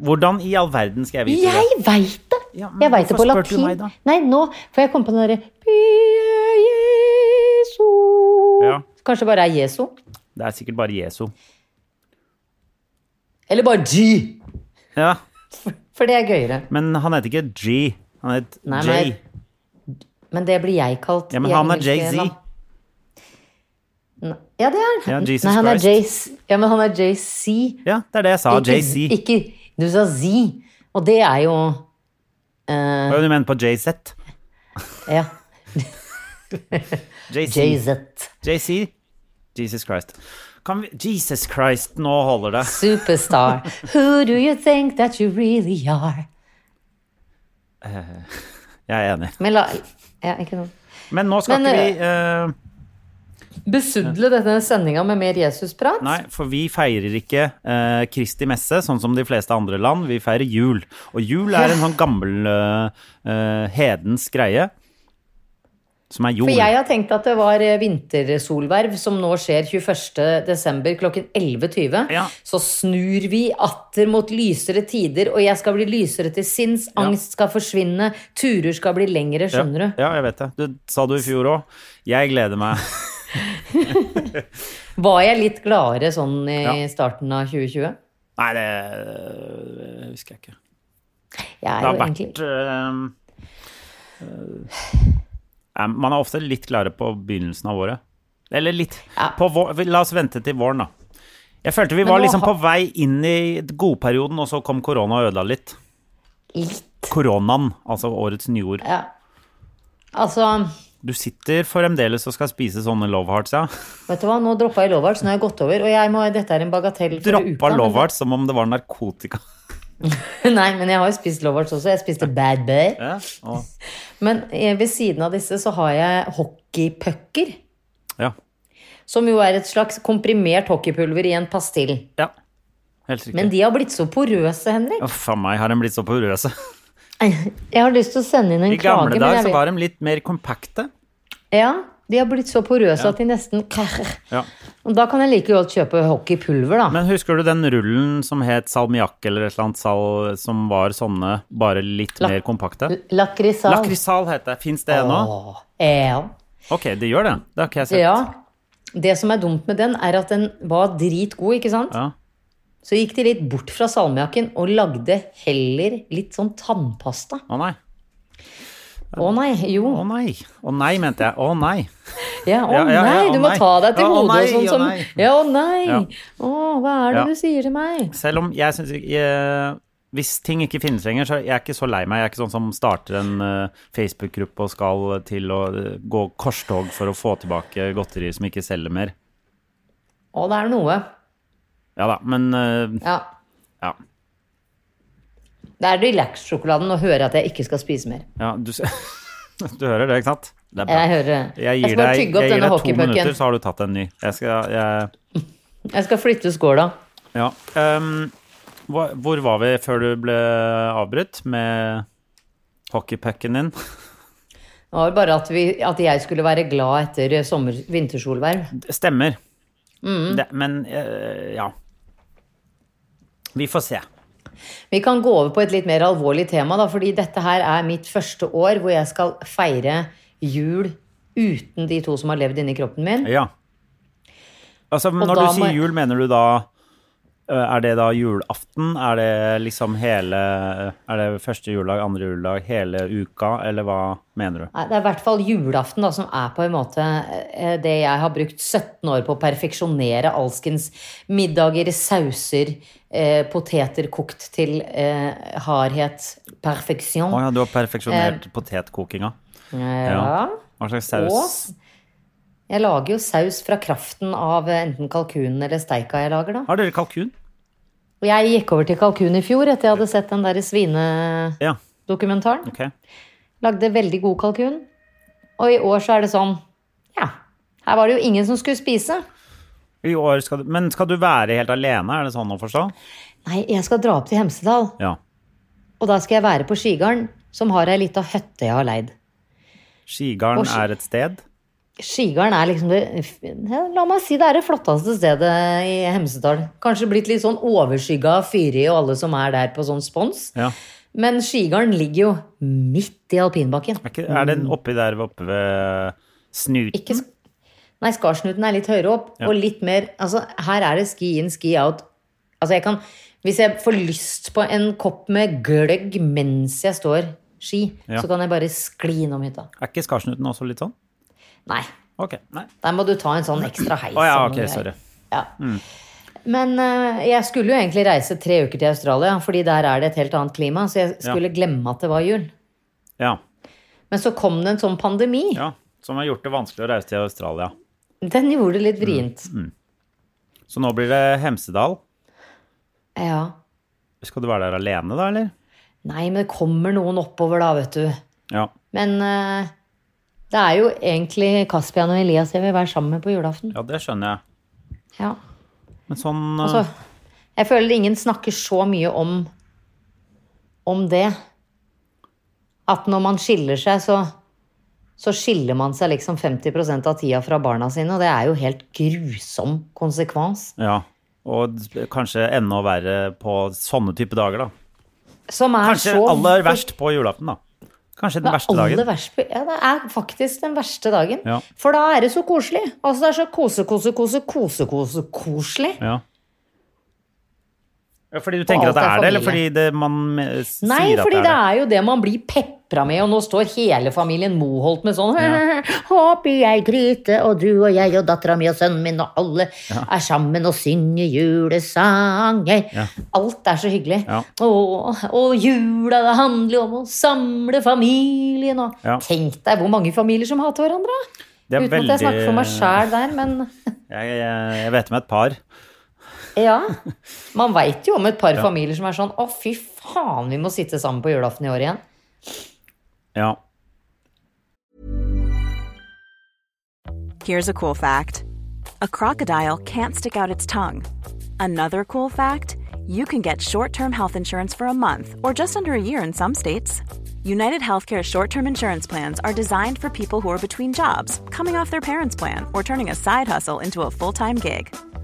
Speaker 1: Hvordan i all verden skal jeg vite det?
Speaker 2: Jeg veit det!
Speaker 1: Ja, men
Speaker 2: jeg veit det på
Speaker 1: hvorfor spør du
Speaker 2: latin.
Speaker 1: meg da?
Speaker 2: Nei, nå får jeg komme på den derre «Pie Jesu
Speaker 1: Ja.
Speaker 2: Kanskje det bare er Jesu?
Speaker 1: Det er sikkert bare Jesu.
Speaker 2: Eller bare G!
Speaker 1: Ja,
Speaker 2: For det er gøyere.
Speaker 1: men han heter ikke G. Han het
Speaker 2: Nei,
Speaker 1: J.
Speaker 2: men- Men det blir jeg kalt.
Speaker 1: Ja, men
Speaker 2: i
Speaker 1: han er
Speaker 2: engelske
Speaker 1: Jay-Z.
Speaker 2: land. Nei, Ja, det er
Speaker 1: Ja, Jesus
Speaker 2: Nei, han er
Speaker 1: Christ.
Speaker 2: Jay-Z. Ja, men han er JC.
Speaker 1: Ja, det er det jeg sa. JC.
Speaker 2: Ikke, ikke Du sa Z. Og det er jo eh,
Speaker 1: Hva er det du mener på JZ?
Speaker 2: Ja.
Speaker 1: JC.
Speaker 2: JZ.
Speaker 1: JC. Jesus Christ. Kan vi Jesus Christ, nå holder det.
Speaker 2: Superstar. Who do you think that you really are?
Speaker 1: Jeg er enig.
Speaker 2: Men la ja, ikke noe.
Speaker 1: Men nå skal
Speaker 2: Men,
Speaker 1: ikke vi eh,
Speaker 2: Besudle denne sendinga med mer Jesusprat?
Speaker 1: Nei, for vi feirer ikke eh, Kristi messe, sånn som de fleste andre land. Vi feirer jul. Og jul er en sånn gammel eh, eh, hedens greie. som er jord.
Speaker 2: For jeg har tenkt at det var eh, vintersolverv, som nå skjer 21.12. klokken 11.20.
Speaker 1: Ja.
Speaker 2: Så snur vi atter mot lysere tider, og jeg skal bli lysere til sinns, angst skal forsvinne, turer skal bli lengre, skjønner du.
Speaker 1: Ja, jeg vet det. Du sa du i fjor òg. Jeg gleder meg.
Speaker 2: Var jeg litt gladere sånn i
Speaker 1: Ja.
Speaker 2: starten av 2020?
Speaker 1: Nei, det øh, husker jeg ikke.
Speaker 2: Jeg er
Speaker 1: Det har
Speaker 2: jo egentlig
Speaker 1: vært øh, øh, eh, Man er ofte litt klare på begynnelsen av året. Eller litt
Speaker 2: Ja.
Speaker 1: på vår, La oss vente til våren, da. Jeg følte vi
Speaker 2: Men
Speaker 1: var
Speaker 2: nå
Speaker 1: liksom
Speaker 2: har-
Speaker 1: på vei inn i godperioden, og så kom korona og ødela litt.
Speaker 2: litt
Speaker 1: Koronaen, altså årets nyord.
Speaker 2: Ja. Altså,
Speaker 1: Du sitter fremdeles og skal spise sånne love hearts, ja.
Speaker 2: vet du hva, nå droppa jeg Love Hearts, nå har jeg gått over, og jeg må, dette er en bagatell for uka.
Speaker 1: Droppa
Speaker 2: men-
Speaker 1: love hearts som om det var narkotika.
Speaker 2: Nei, men jeg har jo spist Love Hearts også. Jeg spiste Bad Bear.
Speaker 1: Ja, og,
Speaker 2: Men eh, ved siden av disse så har jeg hockeypucker.
Speaker 1: ja.
Speaker 2: Som jo er et slags komprimert hockeypulver i en pastill.
Speaker 1: ja. Helt riktig.
Speaker 2: Men de har blitt så porøse, Henrik.
Speaker 1: Å, faen meg, har de blitt så porøse?
Speaker 2: Jeg har lyst til å sende inn en
Speaker 1: I gamle
Speaker 2: klage. Men
Speaker 1: dager
Speaker 2: jeg
Speaker 1: så
Speaker 2: vet.
Speaker 1: var de litt mer kompakte.
Speaker 2: Ja, de har blitt så porøse at de nesten krr.
Speaker 1: Ja.
Speaker 2: Og da kan jeg like godt kjøpe hockeypulver, da.
Speaker 1: Men husker du den rullen som het salmiakk eller et eller annet sal, som var sånne, bare litt
Speaker 2: La-
Speaker 1: mer kompakte?
Speaker 2: L- Lakrisal.
Speaker 1: Lakrisal het det. Fins det ennå?
Speaker 2: Åh, Ja.
Speaker 1: Ok, det gjør det. Det har ikke jeg sett.
Speaker 2: ja. Det som er dumt med den, er at den var dritgod, ikke sant?
Speaker 1: Ja.
Speaker 2: Så gikk de litt bort fra salmiakken og lagde heller litt sånn tannpasta.
Speaker 1: Å nei.
Speaker 2: Å nei, jo.
Speaker 1: Å nei. Å nei, mente jeg. Å nei.
Speaker 2: Ja, å
Speaker 1: Ja, ja, ja, å
Speaker 2: nei, du må
Speaker 1: nei.
Speaker 2: ta deg til
Speaker 1: Ja, å
Speaker 2: hodet
Speaker 1: nei,
Speaker 2: og sånn
Speaker 1: å
Speaker 2: som
Speaker 1: nei.
Speaker 2: Ja, å nei!
Speaker 1: Ja.
Speaker 2: Å, hva er det
Speaker 1: Ja.
Speaker 2: du sier til meg?
Speaker 1: Selv om jeg syns eh, Hvis ting ikke finnes lenger, så er jeg ikke så lei meg. Jeg er ikke sånn som starter en eh, Facebook-gruppe og skal til å eh, gå korstog for å få tilbake godteri som ikke selger mer.
Speaker 2: Å, det er noe.
Speaker 1: Ja da, men eh,
Speaker 2: Ja.
Speaker 1: ja.
Speaker 2: Det er relax-sjokoladen å høre at jeg ikke skal spise mer.
Speaker 1: ja du, s- du hører det, ikke sant? Det er
Speaker 2: Jeg hører det.
Speaker 1: Jeg
Speaker 2: Jeg
Speaker 1: gir
Speaker 2: skal bare
Speaker 1: deg,
Speaker 2: tygge opp
Speaker 1: jeg gir
Speaker 2: denne
Speaker 1: deg to minutter,
Speaker 2: hockeypucken.
Speaker 1: så har du tatt en ny. Jeg skal, jeg,
Speaker 2: Jeg skal flytte skåla.
Speaker 1: ja. Ehm, hva, hvor var vi før du ble avbrutt med hockeypucken din?
Speaker 2: Det var bare at, vi, at jeg skulle være glad etter sommer, vintersolverv.
Speaker 1: Det Stemmer.
Speaker 2: Mm.
Speaker 1: Det, men eh, ja. Vi får se.
Speaker 2: Vi kan gå over på et litt mer alvorlig tema, da, fordi dette her er mitt første år hvor jeg skal feire jul uten de to som har levd inni kroppen min.
Speaker 1: Ja. Altså, men når du
Speaker 2: da må
Speaker 1: sier
Speaker 2: jeg-
Speaker 1: jul, mener du da eh, er det da julaften? Er det liksom hele Er det første juledag, andre juledag, hele uka, eller hva mener du?
Speaker 2: Nei, Det er i hvert fall julaften da, som er på en måte eh, det jeg har brukt 17 år på å perfeksjonere alskens middager, sauser, eh, poteter kokt til eh, hardhet, perfeksjon.
Speaker 1: Å ja, du har perfeksjonert
Speaker 2: Eh,
Speaker 1: potetkokinga.
Speaker 2: ja.
Speaker 1: Hva slags
Speaker 2: Og
Speaker 1: saus?
Speaker 2: jeg lager jo saus fra kraften av eh, enten kalkunen eller steika jeg lager da.
Speaker 1: Har dere kalkun?
Speaker 2: Og jeg gikk over til kalkun i fjor etter jeg hadde sett den der svinedokumentaren.
Speaker 1: Ja, ok.
Speaker 2: Lagde veldig god kalkun. Og i år så er det sånn, ja, her var det jo ingen som skulle spise.
Speaker 1: I år skal du, men skal du være helt alene, er det sånn å forstå?
Speaker 2: Nei, jeg skal dra opp til Hemsedal,
Speaker 1: Ja.
Speaker 2: og da skal jeg være på Skigarden, som har ei lita hytte jeg har leid.
Speaker 1: Skigarden
Speaker 2: Og ski-
Speaker 1: er et sted?
Speaker 2: Skigarden er liksom det ja, La meg si det er det flotteste stedet i Hemsedal. Kanskje blitt litt sånn overskygga av Fyri og alle som er der på sånn spons.
Speaker 1: Ja.
Speaker 2: Men Skigarden ligger jo midt i alpinbakken.
Speaker 1: Er, ikke, er den oppi der oppe ved Snuten?
Speaker 2: Mm. Ikke sk Nei, Skarsnuten er litt høyere opp, og litt mer Altså, her er det ski in, ski out. Altså, jeg kan Hvis jeg får lyst på en kopp med gløgg mens jeg står ski,
Speaker 1: Ja.
Speaker 2: så kan jeg bare skli innom hytta.
Speaker 1: Er ikke Skarsnuten også litt sånn?
Speaker 2: Nei.
Speaker 1: Ok, nei.
Speaker 2: Der må du ta en sånn ekstra heis.
Speaker 1: Å ja,
Speaker 2: og noe
Speaker 1: ok,
Speaker 2: greier.
Speaker 1: sorry. Mm.
Speaker 2: Ja. Men eh, jeg skulle jo egentlig reise tre uker til Australia, fordi der er det et helt annet klima, så jeg skulle glemme at det var jul.
Speaker 1: Ja,
Speaker 2: Men så kom det en sånn pandemi.
Speaker 1: ja. Som har gjort det vanskelig å reise til Australia.
Speaker 2: Den gjorde det litt vrient.
Speaker 1: Mm. Så nå blir det Hemsedal.
Speaker 2: Ja.
Speaker 1: Skal du være der alene da, eller?
Speaker 2: Nei, men det kommer noen oppover da, vet du.
Speaker 1: Ja.
Speaker 2: Men eh, det er jo egentlig Kaspian og Elias jeg vil være sammen med på julaften.
Speaker 1: ja, det skjønner jeg.
Speaker 2: Ja.
Speaker 1: Men sånn eh,
Speaker 2: Altså, jeg føler ingen snakker så mye om, om det. At når man skiller seg, så, så skiller man seg liksom 50 av tida fra barna sine, og det er jo helt grusom konsekvens.
Speaker 1: Ja. Og d- kanskje enda verre på sånne type dager, da.
Speaker 2: Som er
Speaker 1: Kanskje
Speaker 2: så
Speaker 1: aller verst på julaften, da. Kanskje den
Speaker 2: Det er
Speaker 1: verste
Speaker 2: aller
Speaker 1: dagen.
Speaker 2: verst- ja, det er faktisk den verste dagen.
Speaker 1: Ja.
Speaker 2: For da er det så koselig. Altså, det er så kose, kose, kose, kose, kose, koselig.
Speaker 1: Ja. ja. Fordi du tenker at
Speaker 2: alt
Speaker 1: det
Speaker 2: er
Speaker 1: er det, eller fordi
Speaker 2: familie.
Speaker 1: det, man eh, s-
Speaker 2: Nei,
Speaker 1: sier at
Speaker 2: fordi
Speaker 1: det er det?
Speaker 2: jo det man blir pepra med, og nå står hele familien Moholt med sånn Håper jeg gryte, og du og jeg og dattera mi og sønnen min og alle er sammen og synger julesanger.
Speaker 1: Ja.
Speaker 2: Alt er så hyggelig.
Speaker 1: Ja.
Speaker 2: Og, og jula, det handler jo om å samle familien og
Speaker 1: Ja.
Speaker 2: Tenk deg hvor mange familier som hater hverandre.
Speaker 1: Det er
Speaker 2: Uten at jeg snakker for meg
Speaker 1: veldig-
Speaker 2: sjæl der, men
Speaker 1: Jeg, jeg, jeg vet om et par.
Speaker 2: ja. Man veit jo om et par familier som er sånn Å, fy faen, vi må sitte sammen på julaften i år igjen.
Speaker 1: Ja.
Speaker 3: Here's a cool fact a crocodile can't stick out its tongue. Another cool fact you can get short term health insurance for a month or just under a year in some states. United Healthcare short term insurance plans are designed for people who are between jobs, coming off their parents' plan, or turning a side hustle into a full time gig.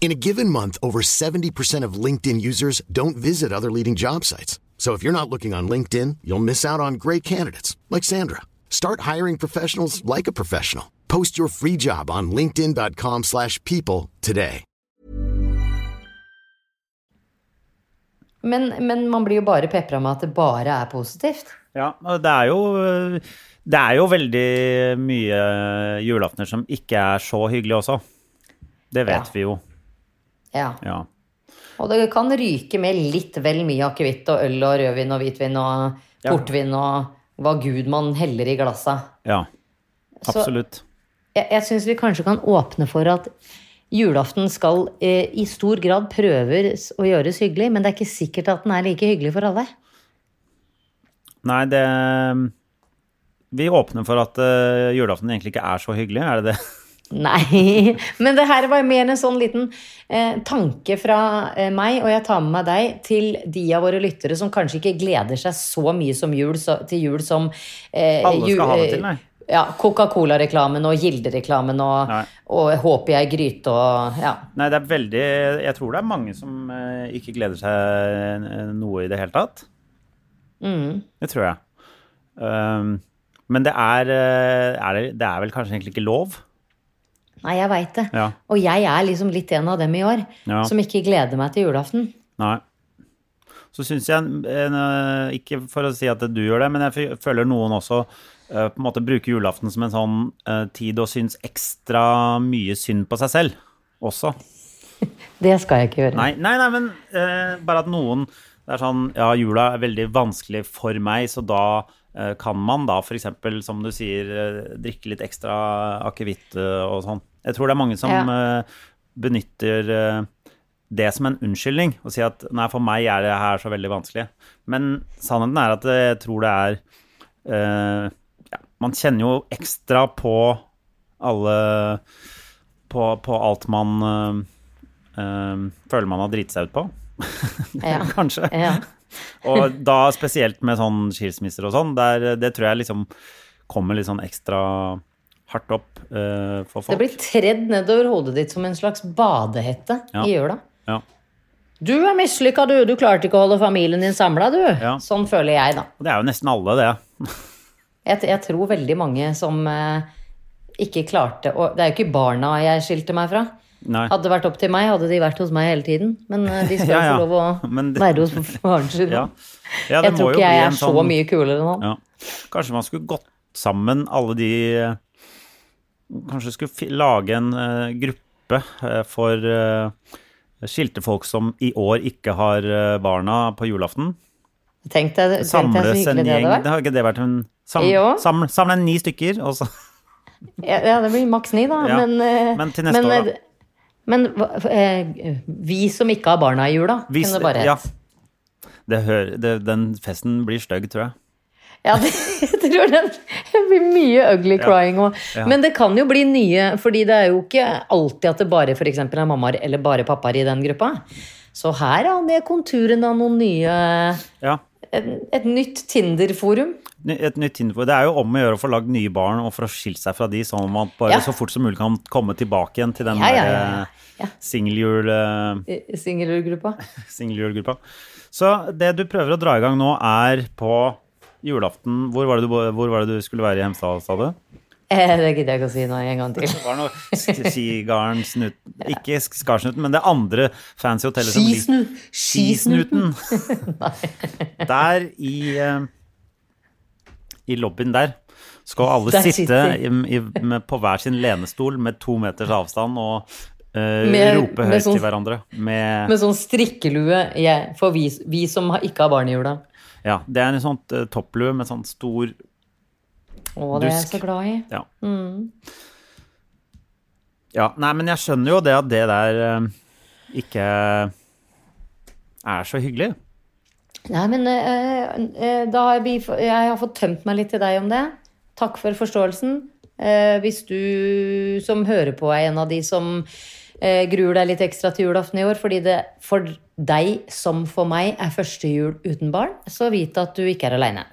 Speaker 4: In a given month, over 70% of LinkedIn users don't visit other leading job sites. So if you're not looking on LinkedIn, you'll miss out on great candidates like Sandra. Start hiring professionals like a professional. Post your free job on linkedin.com/people slash people today.
Speaker 2: Men, men man blir jo bare pepra med at det bare er positivt.
Speaker 1: Ja, og det er jo Det er jo veldig mye julaftener som ikke er så hyggelig også. Det vet
Speaker 2: Ja.
Speaker 1: vi jo.
Speaker 2: Ja.
Speaker 1: Ja.
Speaker 2: Og det kan ryke med litt vel mye akevitt og øl og rødvin og hvitvin og
Speaker 1: Ja.
Speaker 2: portvin og hva gud man heller i glassa.
Speaker 1: ja.
Speaker 2: Så-
Speaker 1: Absolutt.
Speaker 2: Jeg, jeg syns vi kanskje kan åpne for at julaften skal eh, i stor grad prøves å gjøres hyggelig, men det er ikke sikkert at den er like hyggelig for alle.
Speaker 1: Nei, det Vi åpner for at eh, julaften egentlig ikke er så hyggelig, er det det?
Speaker 2: Nei, men det her var mer en sånn liten eh, tanke fra eh, meg, og jeg tar med meg deg, til de av våre lyttere som kanskje ikke gleder seg så mye som jul, så, til jul som eh,
Speaker 1: Alle skal
Speaker 2: jul-
Speaker 1: ha det til, nei.
Speaker 2: Ja, Coca-Cola-reklamen og Gilde-reklamen og,
Speaker 1: Nei.
Speaker 2: og Håper jeg gryte og ja.
Speaker 1: Nei, det er veldig Jeg tror det er mange som eh, ikke gleder seg eh, noe i det hele tatt.
Speaker 2: Mm.
Speaker 1: Det tror jeg. Um, men det er, eh, er det, det er vel kanskje egentlig ikke lov?
Speaker 2: Nei, jeg veit det.
Speaker 1: Ja.
Speaker 2: Og jeg er liksom litt en av dem i år
Speaker 1: Ja.
Speaker 2: som ikke gleder meg til julaften.
Speaker 1: Nei. Så syns jeg, en, eh, ikke for å si at du gjør det, men jeg f- føler noen også eh, på en måte bruker julaften som en sånn eh, tid og syns ekstra mye synd på seg selv også.
Speaker 2: Det skal jeg ikke gjøre.
Speaker 1: Nei, nei, nei men eh, bare at noen det er sånn, ja, jula er veldig vanskelig for meg, så da eh, kan man da f.eks., som du sier, eh, drikke litt ekstra akevitt eh, og sånn. Jeg tror det er mange som
Speaker 2: Ja.
Speaker 1: eh, benytter eh, det som en unnskyldning, og sier at nei, for meg er det her så veldig vanskelig. Men sannheten er at eh, jeg tror det er eh, ja, Man kjenner jo ekstra på alle På, på alt man eh, Ehm, føler man har driti seg ut på.
Speaker 2: Ja.
Speaker 1: Kanskje.
Speaker 2: Ja.
Speaker 1: Og da spesielt med sånn skilsmisser og sånn, der, det tror jeg liksom kommer litt sånn ekstra hardt opp eh, for folk.
Speaker 2: Det blir tredd nedover hodet ditt som en slags badehette
Speaker 1: Ja.
Speaker 2: i jula.
Speaker 1: ja.
Speaker 2: Du er mislykka, du. Du klarte ikke å holde familien din samla, du.
Speaker 1: Ja.
Speaker 2: Sånn føler jeg, da.
Speaker 1: Og det er jo nesten alle, det.
Speaker 2: Jeg, jeg tror veldig mange som eh, ikke klarte å Det er jo ikke barna jeg skilte meg fra.
Speaker 1: Nei.
Speaker 2: Hadde det vært opp til meg, hadde de vært hos meg hele tiden. Men eh, de skal
Speaker 1: Ja,
Speaker 2: jo
Speaker 1: ja.
Speaker 2: få lov å
Speaker 1: Men det-
Speaker 2: være hos faren sin.
Speaker 1: Ja. Ja, det
Speaker 2: jeg
Speaker 1: må
Speaker 2: tror
Speaker 1: jo
Speaker 2: ikke jeg
Speaker 1: bli
Speaker 2: er
Speaker 1: en
Speaker 2: så
Speaker 1: sånn-
Speaker 2: mye kulere enn han.
Speaker 1: Ja. Kanskje man skulle gått sammen alle de eh, Kanskje skulle fi- lage en eh, gruppe eh, for eh, skilte folk som i år ikke har eh, barna på julaften.
Speaker 2: Tenk deg tenk deg så
Speaker 1: Samles en
Speaker 2: hyggelig det
Speaker 1: gjeng
Speaker 2: hadde vært.
Speaker 1: Har ikke det vært en sam,
Speaker 2: Jo.
Speaker 1: sam, Samle en ni stykker, og så
Speaker 2: Ja, ja, det blir maks ni, da.
Speaker 1: Ja,
Speaker 2: Men, eh,
Speaker 1: men til neste år, da.
Speaker 2: eh, Men hva- eh, vi som ikke har barna i jula,
Speaker 1: Hvis-
Speaker 2: kunne det bare hett.
Speaker 1: ja.
Speaker 2: Ja.
Speaker 1: Det hører, det, den festen blir stygg, tror jeg.
Speaker 2: det, jeg tror den det blir mye ugly crying òg.
Speaker 1: Ja.
Speaker 2: Men det kan jo bli nye, fordi det er jo ikke alltid at det bare for eksempel, er mammaer eller bare pappaer i den gruppa. Så her er det konturene av noen nye
Speaker 1: Ja.
Speaker 2: en- Et nytt Tinder-forum.
Speaker 1: Ny- Et nytt Tinder-forum. Det er jo om å gjøre å få lagd nye barn og for å skille seg fra de, sånn at man bare
Speaker 2: Ja.
Speaker 1: så fort som mulig kan komme tilbake igjen til den
Speaker 2: Ja,
Speaker 1: der
Speaker 2: ja, ja, ja. Ja.
Speaker 1: singeljul... eh,
Speaker 2: i- i Singelgruppa.
Speaker 1: singeljulgruppa. Så det du prøver å dra i gang nå, er på julaften Hvor var det du, hvor var det du skulle være i Hemsedal, sa du?
Speaker 2: Eh, det gidder jeg ikke å si nå en gang til.
Speaker 1: Det var noe sk- Skigarden, snuten Ikke sk- Skarsnuten, men det andre fancy hotellet som ligger-
Speaker 2: Skisnu, skisnuten.
Speaker 1: Skisnuten. der i eh, I lobbyen der skal alle
Speaker 2: Der
Speaker 1: sitte
Speaker 2: sitter-
Speaker 1: i, i, med, på hver sin lenestol med to meters avstand og eh,
Speaker 2: Med-
Speaker 1: rope
Speaker 2: med
Speaker 1: høyt
Speaker 2: sånn-
Speaker 1: til hverandre. Med,
Speaker 2: Med sånn strikkelue jeg, for vi, vi som har, ikke har barn i jula.
Speaker 1: ja, det er en sånn eh, topplue med sånn stor
Speaker 2: Å, det er jeg
Speaker 1: Dusk.
Speaker 2: så glad i.
Speaker 1: Ja. ja. Nei, men jeg skjønner jo det at det der eh, ikke er så hyggelig.
Speaker 2: Nei, men eh, eh, da har vi, jeg har fått tømt meg litt til deg om det. Takk for forståelsen. Eh, hvis du som hører på er en av de som eh, gruer deg litt ekstra til julaften i år, fordi det for deg som for meg er første jul uten barn, så vit at du ikke er aleine.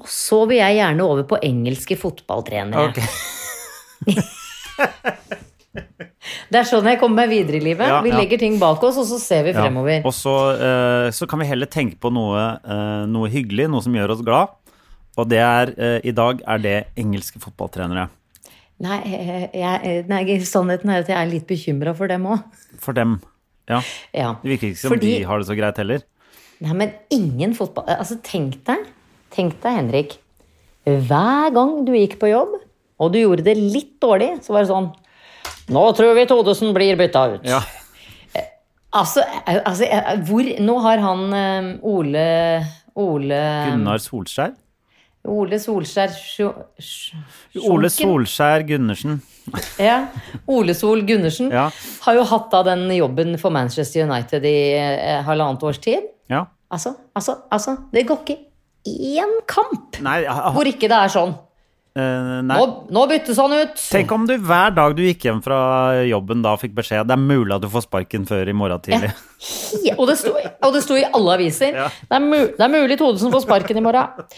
Speaker 2: Og så vil jeg gjerne over på engelske fotballtrenere.
Speaker 1: Ok.
Speaker 2: Det er sånn jeg kommer meg videre i livet.
Speaker 1: Ja,
Speaker 2: vi
Speaker 1: ja.
Speaker 2: legger ting bak oss, og så ser vi
Speaker 1: Ja.
Speaker 2: fremover.
Speaker 1: Og så, eh, så kan vi heller tenke på noe, eh, noe hyggelig, noe som gjør oss glad. Og det er, eh, i dag er det engelske fotballtrenere.
Speaker 2: Nei, eh, jeg, nei, sannheten er at jeg er litt bekymra for dem òg.
Speaker 1: For dem. Ja.
Speaker 2: Ja.
Speaker 1: Det virker ikke som de har det så greit heller.
Speaker 2: Nei, men ingen fotball Altså, tenk deg, tenk deg, Henrik. Hver gang du gikk på jobb, og du gjorde det litt dårlig, så var det sånn Nå tror vi Todesen blir bytta ut.
Speaker 1: Ja.
Speaker 2: Altså, eh, altså eh, hvor Nå har han eh, Ole Ole
Speaker 1: Gunnar Solskjær.
Speaker 2: Ole Solskjær Sjo- Sj-
Speaker 1: Ole
Speaker 2: Sjunken?
Speaker 1: Solskjær Gundersen.
Speaker 2: Ja. Ole Sol Gundersen
Speaker 1: Ja.
Speaker 2: har jo hatt da den jobben for Manchester United i eh, halvannet års tid.
Speaker 1: Ja.
Speaker 2: Altså, altså, altså. Det går ikke én kamp
Speaker 1: Nei, ha- ha-
Speaker 2: hvor ikke det er sånn.
Speaker 1: eh,
Speaker 2: Nå,
Speaker 1: nei.
Speaker 2: nå byttes han ut!
Speaker 1: Tenk om du hver dag du gikk hjem fra jobben da fikk beskjed Det er mulig at du får sparken før i morgen tidlig.
Speaker 2: Ja, Og det sto, og det sto i alle aviser.
Speaker 1: Ja.
Speaker 2: Det, er mu, det er mulig Todesen får sparken i morgen.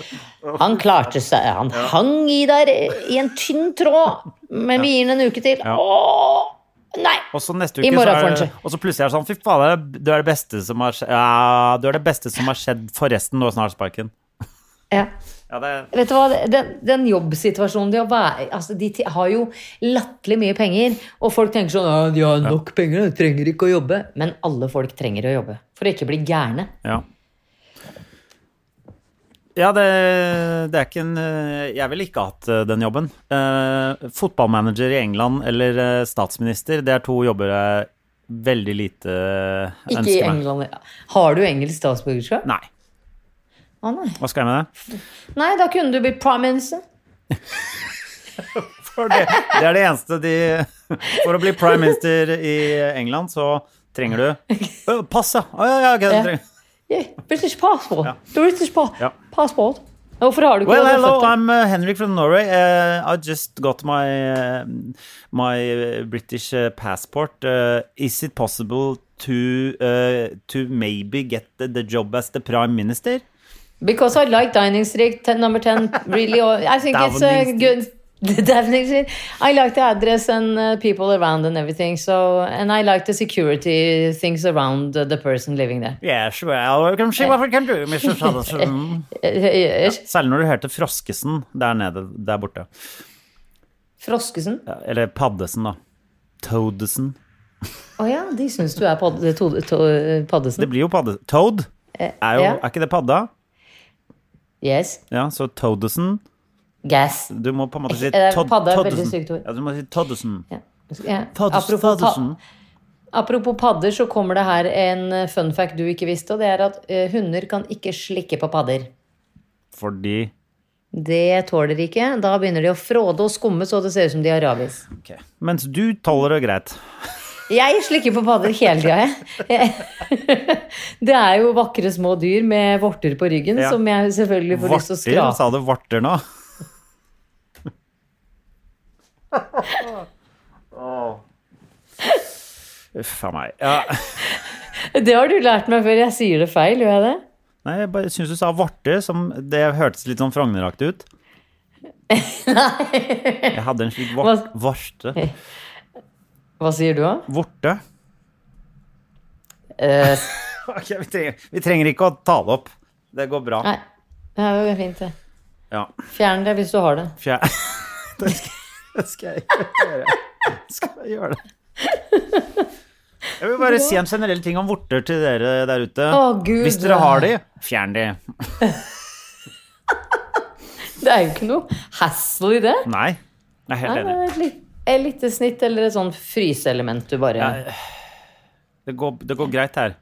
Speaker 2: Han klarte seg. Han hang i der i en tynn tråd, men vi gir ham en uke til.
Speaker 1: Ja.
Speaker 2: Åh, nei!
Speaker 1: Og så neste
Speaker 2: I
Speaker 1: uke så
Speaker 2: morgen får
Speaker 1: er
Speaker 2: han
Speaker 1: det,
Speaker 2: seg.
Speaker 1: Og så plutselig er det sånn Fy fader, du er det beste som har skjedd ja, Du er det beste som har skjedd forresten, du har snart sparken.
Speaker 2: Ja.
Speaker 1: Ja, det er
Speaker 2: Vet du hva, den, den jobbsituasjonen de har vært altså De ti- har jo latterlig mye penger, og folk tenker sånn «Ja, De har nok penger, de trenger ikke å jobbe. Men alle folk trenger å jobbe for å ikke bli gærne.
Speaker 1: Ja. Ja, det, det er ikke en eh, Jeg ville ikke hatt eh, den jobben. Eh, fotballmanager i England eller eh, statsminister, det er to jobber jeg veldig lite ønsker
Speaker 2: Ikke i
Speaker 1: meg.
Speaker 2: England. Har du engelsk statsborgerskap?
Speaker 1: Nei.
Speaker 2: Å, nei.
Speaker 1: Hva skal jeg med det?
Speaker 2: Nei, da kunne du blitt prime minister.
Speaker 1: For det, det er det eneste de For å bli prime minister i England, så trenger du Ø, Pass, ja! Å, ja, ja, ok, du trenger-
Speaker 2: Yeah, British passport. British pa
Speaker 1: Ja.
Speaker 2: passport. Hvorfor har du ikke
Speaker 1: Well,
Speaker 2: det?
Speaker 1: hello,
Speaker 2: Du er født
Speaker 1: I'm uh, Henrik from Norway. Uh, I just got my uh, my uh, British uh, passport. Uh, is it possible to uh, to maybe get the, the job as the prime minister?
Speaker 2: der? Because I like Dining Street ten- number 10 really. or- I think it's a
Speaker 1: Downing
Speaker 2: good... Downing Street. I like the address and uh, people around and everything. So, and I like the security things around uh, the person living there.
Speaker 1: Yes, well, you can see what we can do, Mr. Sutherland.
Speaker 2: Eh, eh, eh,
Speaker 1: Særlig når du hørte Froskesen der nede, der borte.
Speaker 2: Froskesen? Å
Speaker 1: Eller Paddesen, da. Toadesen.
Speaker 2: ja, de synes du er pad to to eh,
Speaker 1: Det
Speaker 2: Paddesen.
Speaker 1: blir jo padde... Toad? Er, jo,
Speaker 2: Eh, ja.
Speaker 1: er ikke det padda?
Speaker 2: Yes.
Speaker 1: Ja, så Toadesen
Speaker 2: Gas.
Speaker 1: Du må på en måte si
Speaker 2: Eh,
Speaker 1: Todd-
Speaker 2: padda er et veldig
Speaker 1: Toddesen.
Speaker 2: sykt ord.
Speaker 1: Ja, du må si Toddesen.
Speaker 2: Ja. Ja.
Speaker 1: Todd-
Speaker 2: Apropos,
Speaker 1: Toddesen.
Speaker 2: pa apropos padder, så kommer det her en eh, fun fact du ikke visste, og det er at eh, hunder kan ikke slikke på padder.
Speaker 1: Fordi
Speaker 2: Det tåler de ikke. Da begynner de å fråde og skumme så det ser ut som de har rabies.
Speaker 1: Ok. Mens du tåler det greit.
Speaker 2: Jeg slikker på padder hele tida, jeg. Det er jo vakre små dyr med vorter på ryggen
Speaker 1: Ja.
Speaker 2: som jeg selvfølgelig får lyst til å
Speaker 1: Varter,
Speaker 2: skrape.
Speaker 1: sa du varter nå? Uff a meg. Ja.
Speaker 2: Det har du lært meg før. Jeg sier det feil, gjør jeg det?
Speaker 1: Nei, jeg bare syns du sa varter, som det hørtes litt sånn Frogner-aktig ut. Jeg hadde en slik var
Speaker 2: Hva-
Speaker 1: varte.
Speaker 2: Hva sier du, da?
Speaker 1: Vorte.
Speaker 2: Eh,
Speaker 1: Ok, vi, trenger, vi trenger ikke å ta det opp. Det går bra.
Speaker 2: nei. Det er jo fint, det.
Speaker 1: Ja.
Speaker 2: Fjern det hvis du har det.
Speaker 1: Fjær... Det skal, det skal jeg gjøre. Skal jeg gjøre det. Jeg vil bare si en generell ting om vorter til dere der ute.
Speaker 2: Å, Gud.
Speaker 1: Hvis dere har de, fjern de.
Speaker 2: Det er jo ikke noe hassle i det.
Speaker 1: Nei, jeg er
Speaker 2: Nei,
Speaker 1: helt
Speaker 2: det
Speaker 1: enig.
Speaker 2: er et lit- et lite snitt eller et sånn fryseelement du bare
Speaker 1: Det går, det går greit her.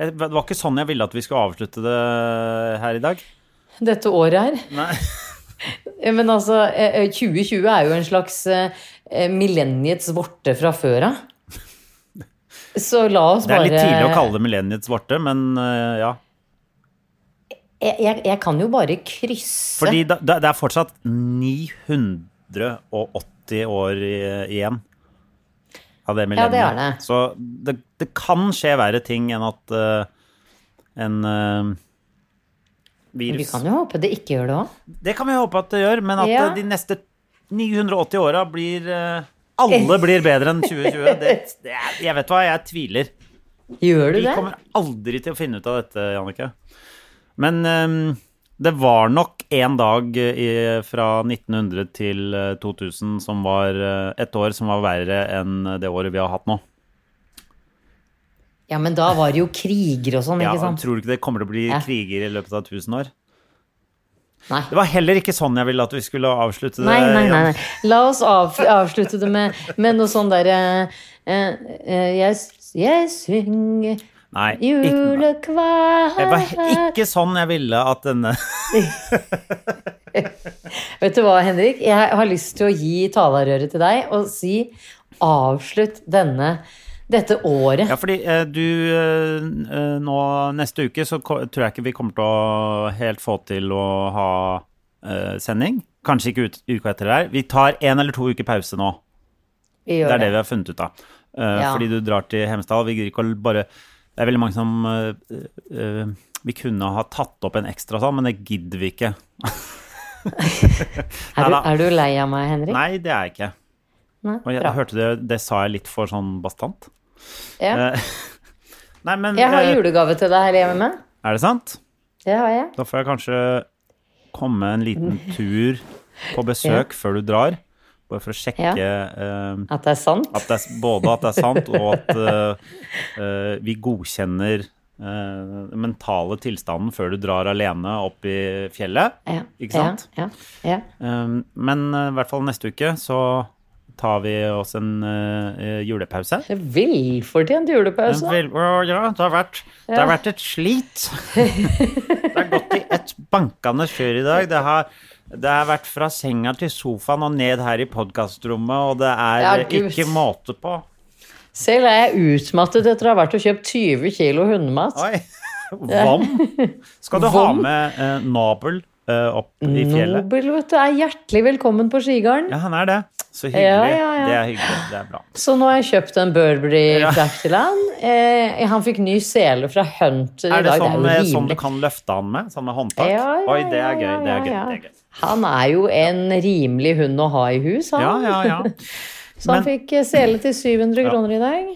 Speaker 1: Jeg- Det var ikke sånn jeg ville at vi skulle avslutte det her i dag.
Speaker 2: Dette året her.
Speaker 1: Nei.
Speaker 2: Eh, Men altså, eh, eh, 2020 er jo en slags eh, eh, millenniets vorte fra før av. Så la oss
Speaker 1: Det er
Speaker 2: bare
Speaker 1: litt tidlig å kalle det millenniets vorte, men eh, ja.
Speaker 2: jeg, jeg, jeg kan jo bare krysse
Speaker 1: Fordi da, da, det er fortsatt 980 år i, igjen av det millenniet.
Speaker 2: det er det.
Speaker 1: Så det, det kan skje verre ting enn at eh, en eh,
Speaker 2: Vi
Speaker 1: virus
Speaker 2: kan jo håpe det ikke gjør det òg.
Speaker 1: Det kan vi håpe at det gjør, men at
Speaker 2: Ja.
Speaker 1: eh, de neste 980 åra blir eh, Alle blir bedre enn 2020. Det, det, er- jeg vet hva, jeg tviler.
Speaker 2: Gjør du
Speaker 1: Vi
Speaker 2: det?
Speaker 1: kommer aldri til å finne ut av dette, Jannicke. Men ehm, det var nok en dag eh, i, fra 1900 til eh, 2000 som var eh, et år som var verre enn det året vi har hatt nå.
Speaker 2: Ja, men da var det jo kriger og sånn,
Speaker 1: Ja,
Speaker 2: ikke sant?
Speaker 1: tror du ikke det kommer til å bli
Speaker 2: Ja.
Speaker 1: kriger i løpet av 1000 år?
Speaker 2: Nei.
Speaker 1: Det var heller ikke sånn jeg ville at vi skulle avslutte det.
Speaker 2: Nei, nei, nei,
Speaker 1: Jan.
Speaker 2: nei. La oss av, avslutte det med, med noe sånn derre eh, eh, jeg, jeg synger
Speaker 1: Nei, ikke, det var
Speaker 2: julekveld
Speaker 1: ikke sånn jeg ville at denne
Speaker 2: Vet du hva, Henrik? Jeg har lyst til å gi talerøret til deg og si avslutt denne, dette året.
Speaker 1: Ja, fordi eh, du eh, eh, nå neste uke så ko- tror jeg ikke vi kommer til å helt få til å ha eh, sending. Kanskje ikke ut, uka etter der. Vi tar en eller to uker pause nå.
Speaker 2: Vi
Speaker 1: Det
Speaker 2: gjør
Speaker 1: er det
Speaker 2: det.
Speaker 1: vi har funnet ut av. Eh,
Speaker 2: Ja.
Speaker 1: Fordi du drar til Hemsedal. Vi gidder ikke å bare Det er veldig mange som eh, eh, Vi kunne ha tatt opp en ekstra sånn, men det gidder vi ikke.
Speaker 2: Er du,
Speaker 1: Neida.
Speaker 2: er du lei av meg, Henrik?
Speaker 1: Nei, det er jeg ikke.
Speaker 2: Nei,
Speaker 1: Og jeg,
Speaker 2: bra.
Speaker 1: hørte det, det sa jeg litt for sånn bastant.
Speaker 2: Ja.
Speaker 1: Eh, nei, men
Speaker 2: Jeg har
Speaker 1: eh,
Speaker 2: julegave til deg her hjemme.
Speaker 1: Er det sant?
Speaker 2: Det har jeg.
Speaker 1: Da får jeg kanskje komme en liten tur på besøk før du drar. Bare for å sjekke
Speaker 2: Ja.
Speaker 1: eh,
Speaker 2: At det er sant.
Speaker 1: at det er, både at det er sant, og at eh, eh, vi godkjenner eh, den mentale tilstanden før du drar alene opp i fjellet.
Speaker 2: Ja.
Speaker 1: Ikke sant?
Speaker 2: Ja. ja, ja.
Speaker 1: Eh, men eh, i hvert fall neste uke så tar vi oss en eh, julepause.
Speaker 2: Det er Velfortjent julepause.
Speaker 1: Men vel- å, Ja, det har vært, det har vært et slit. Det har gått i et bankende kjør i dag. Det har, det har vært fra senga til sofaen og ned her i podkastrommet, og det er
Speaker 2: Ja,
Speaker 1: eh,
Speaker 2: Gud.
Speaker 1: ikke måte på.
Speaker 2: Selv er jeg utmattet etter å ha vært og kjøpt 20 kilo hundemat.
Speaker 1: Oi. Vom. Skal du ha med eh, nabel eh, opp i fjellet?
Speaker 2: Nobel, vet du, er hjertelig velkommen på Skigarden.
Speaker 1: Ja, han er det. Så hyggelig.
Speaker 2: Ja, ja, ja.
Speaker 1: Det er hyggelig. Det er bra.
Speaker 2: Så nå har jeg kjøpt en Burberry frakk til han. Eh, han fikk ny sele fra Hunter i
Speaker 1: Er det
Speaker 2: dag.
Speaker 1: sånn,
Speaker 2: det
Speaker 1: eh,
Speaker 2: er jo
Speaker 1: sånn du
Speaker 2: rimelig.
Speaker 1: kan løfte han med? Sånn med håndtak?
Speaker 2: Ja, ja,
Speaker 1: Oi, det
Speaker 2: ja,
Speaker 1: er gøy. Det
Speaker 2: ja,
Speaker 1: er gøy.
Speaker 2: ja.
Speaker 1: Det er gøy.
Speaker 2: Han er jo en rimelig hund å ha i hus, han.
Speaker 1: Ja, ja, ja.
Speaker 2: Så han
Speaker 1: Men-
Speaker 2: fikk eh, sele til 700 kroner i dag.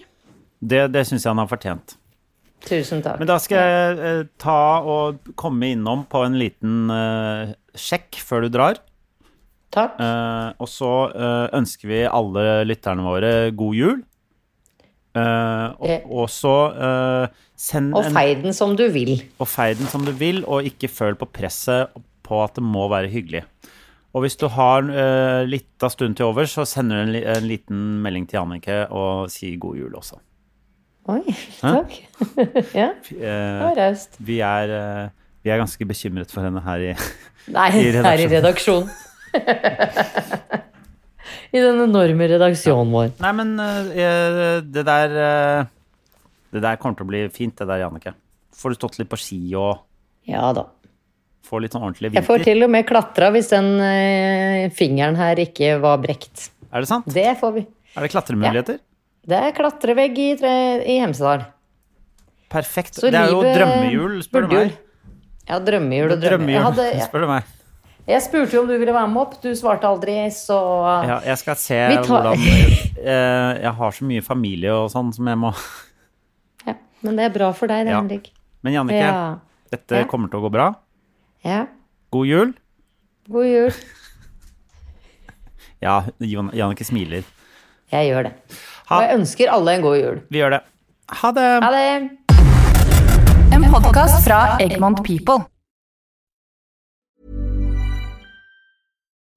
Speaker 1: Det, det syns jeg han har fortjent.
Speaker 2: Tusen takk.
Speaker 1: Men da skal jeg eh, ta og komme innom på en liten eh, sjekk før du drar.
Speaker 2: Takk.
Speaker 1: Eh, og så eh, ønsker vi alle lytterne våre god jul. Eh,
Speaker 2: Eh.
Speaker 1: og, og så eh, send
Speaker 2: Og
Speaker 1: en
Speaker 2: feir den som du vil.
Speaker 1: og feir den som du vil, og ikke føl på presset på at det må være hyggelig. Og hvis du har uh, litt av stund til overs, så sender du en, li- en liten melding til Jannicke og sier god jul også.
Speaker 2: Oi, takk. ja,
Speaker 1: Eh,
Speaker 2: det var raust.
Speaker 1: Vi er, eh, Vi er ganske bekymret for henne her i
Speaker 2: Nei,
Speaker 1: I redaksjonen.
Speaker 2: her i redaksjonen. I den enorme redaksjonen vår.
Speaker 1: Nei, men eh, det der eh, Det der kommer til å bli fint, det der, Jannicke. Får du stått litt på ski og
Speaker 2: Ja da.
Speaker 1: får litt sånn ordentlig
Speaker 2: Jeg får
Speaker 1: vinter?
Speaker 2: til og med klatra hvis den eh, fingeren her ikke var brekt.
Speaker 1: Er det sant?
Speaker 2: Det får vi.
Speaker 1: Er det klatremuligheter?
Speaker 2: Det er klatrevegg i, tre, i Hemsedal.
Speaker 1: Perfekt.
Speaker 2: Så
Speaker 1: det er jo
Speaker 2: livet
Speaker 1: drømmehjul, spør du
Speaker 2: burde jo-
Speaker 1: meg.
Speaker 2: Ja, drømmehjul og drømmehjul. Jeg,
Speaker 1: Drømmehjul,
Speaker 2: hadde, jeg,
Speaker 1: spør du meg.
Speaker 2: jeg spurte jo om du ville være med opp, du svarte aldri, så
Speaker 1: Ja, jeg skal se
Speaker 2: Vi tar-
Speaker 1: hvordan eh, Jeg har så mye familie og sånn som jeg må
Speaker 2: Ja, Men det er bra for deg, det,
Speaker 1: Ja.
Speaker 2: Henrik.
Speaker 1: Men Jannicke,
Speaker 2: Ja.
Speaker 1: dette
Speaker 2: Ja.
Speaker 1: kommer til å gå bra.
Speaker 2: ja.
Speaker 1: God jul.
Speaker 2: God jul.
Speaker 1: Ja, Jon- Jannicke smiler.
Speaker 2: Jeg gjør det.
Speaker 1: Ha-
Speaker 2: Og jeg ønsker alle en god jul.
Speaker 1: Vi gjør det. Ha det.
Speaker 2: Ha det!
Speaker 5: En podkast fra Egmont People.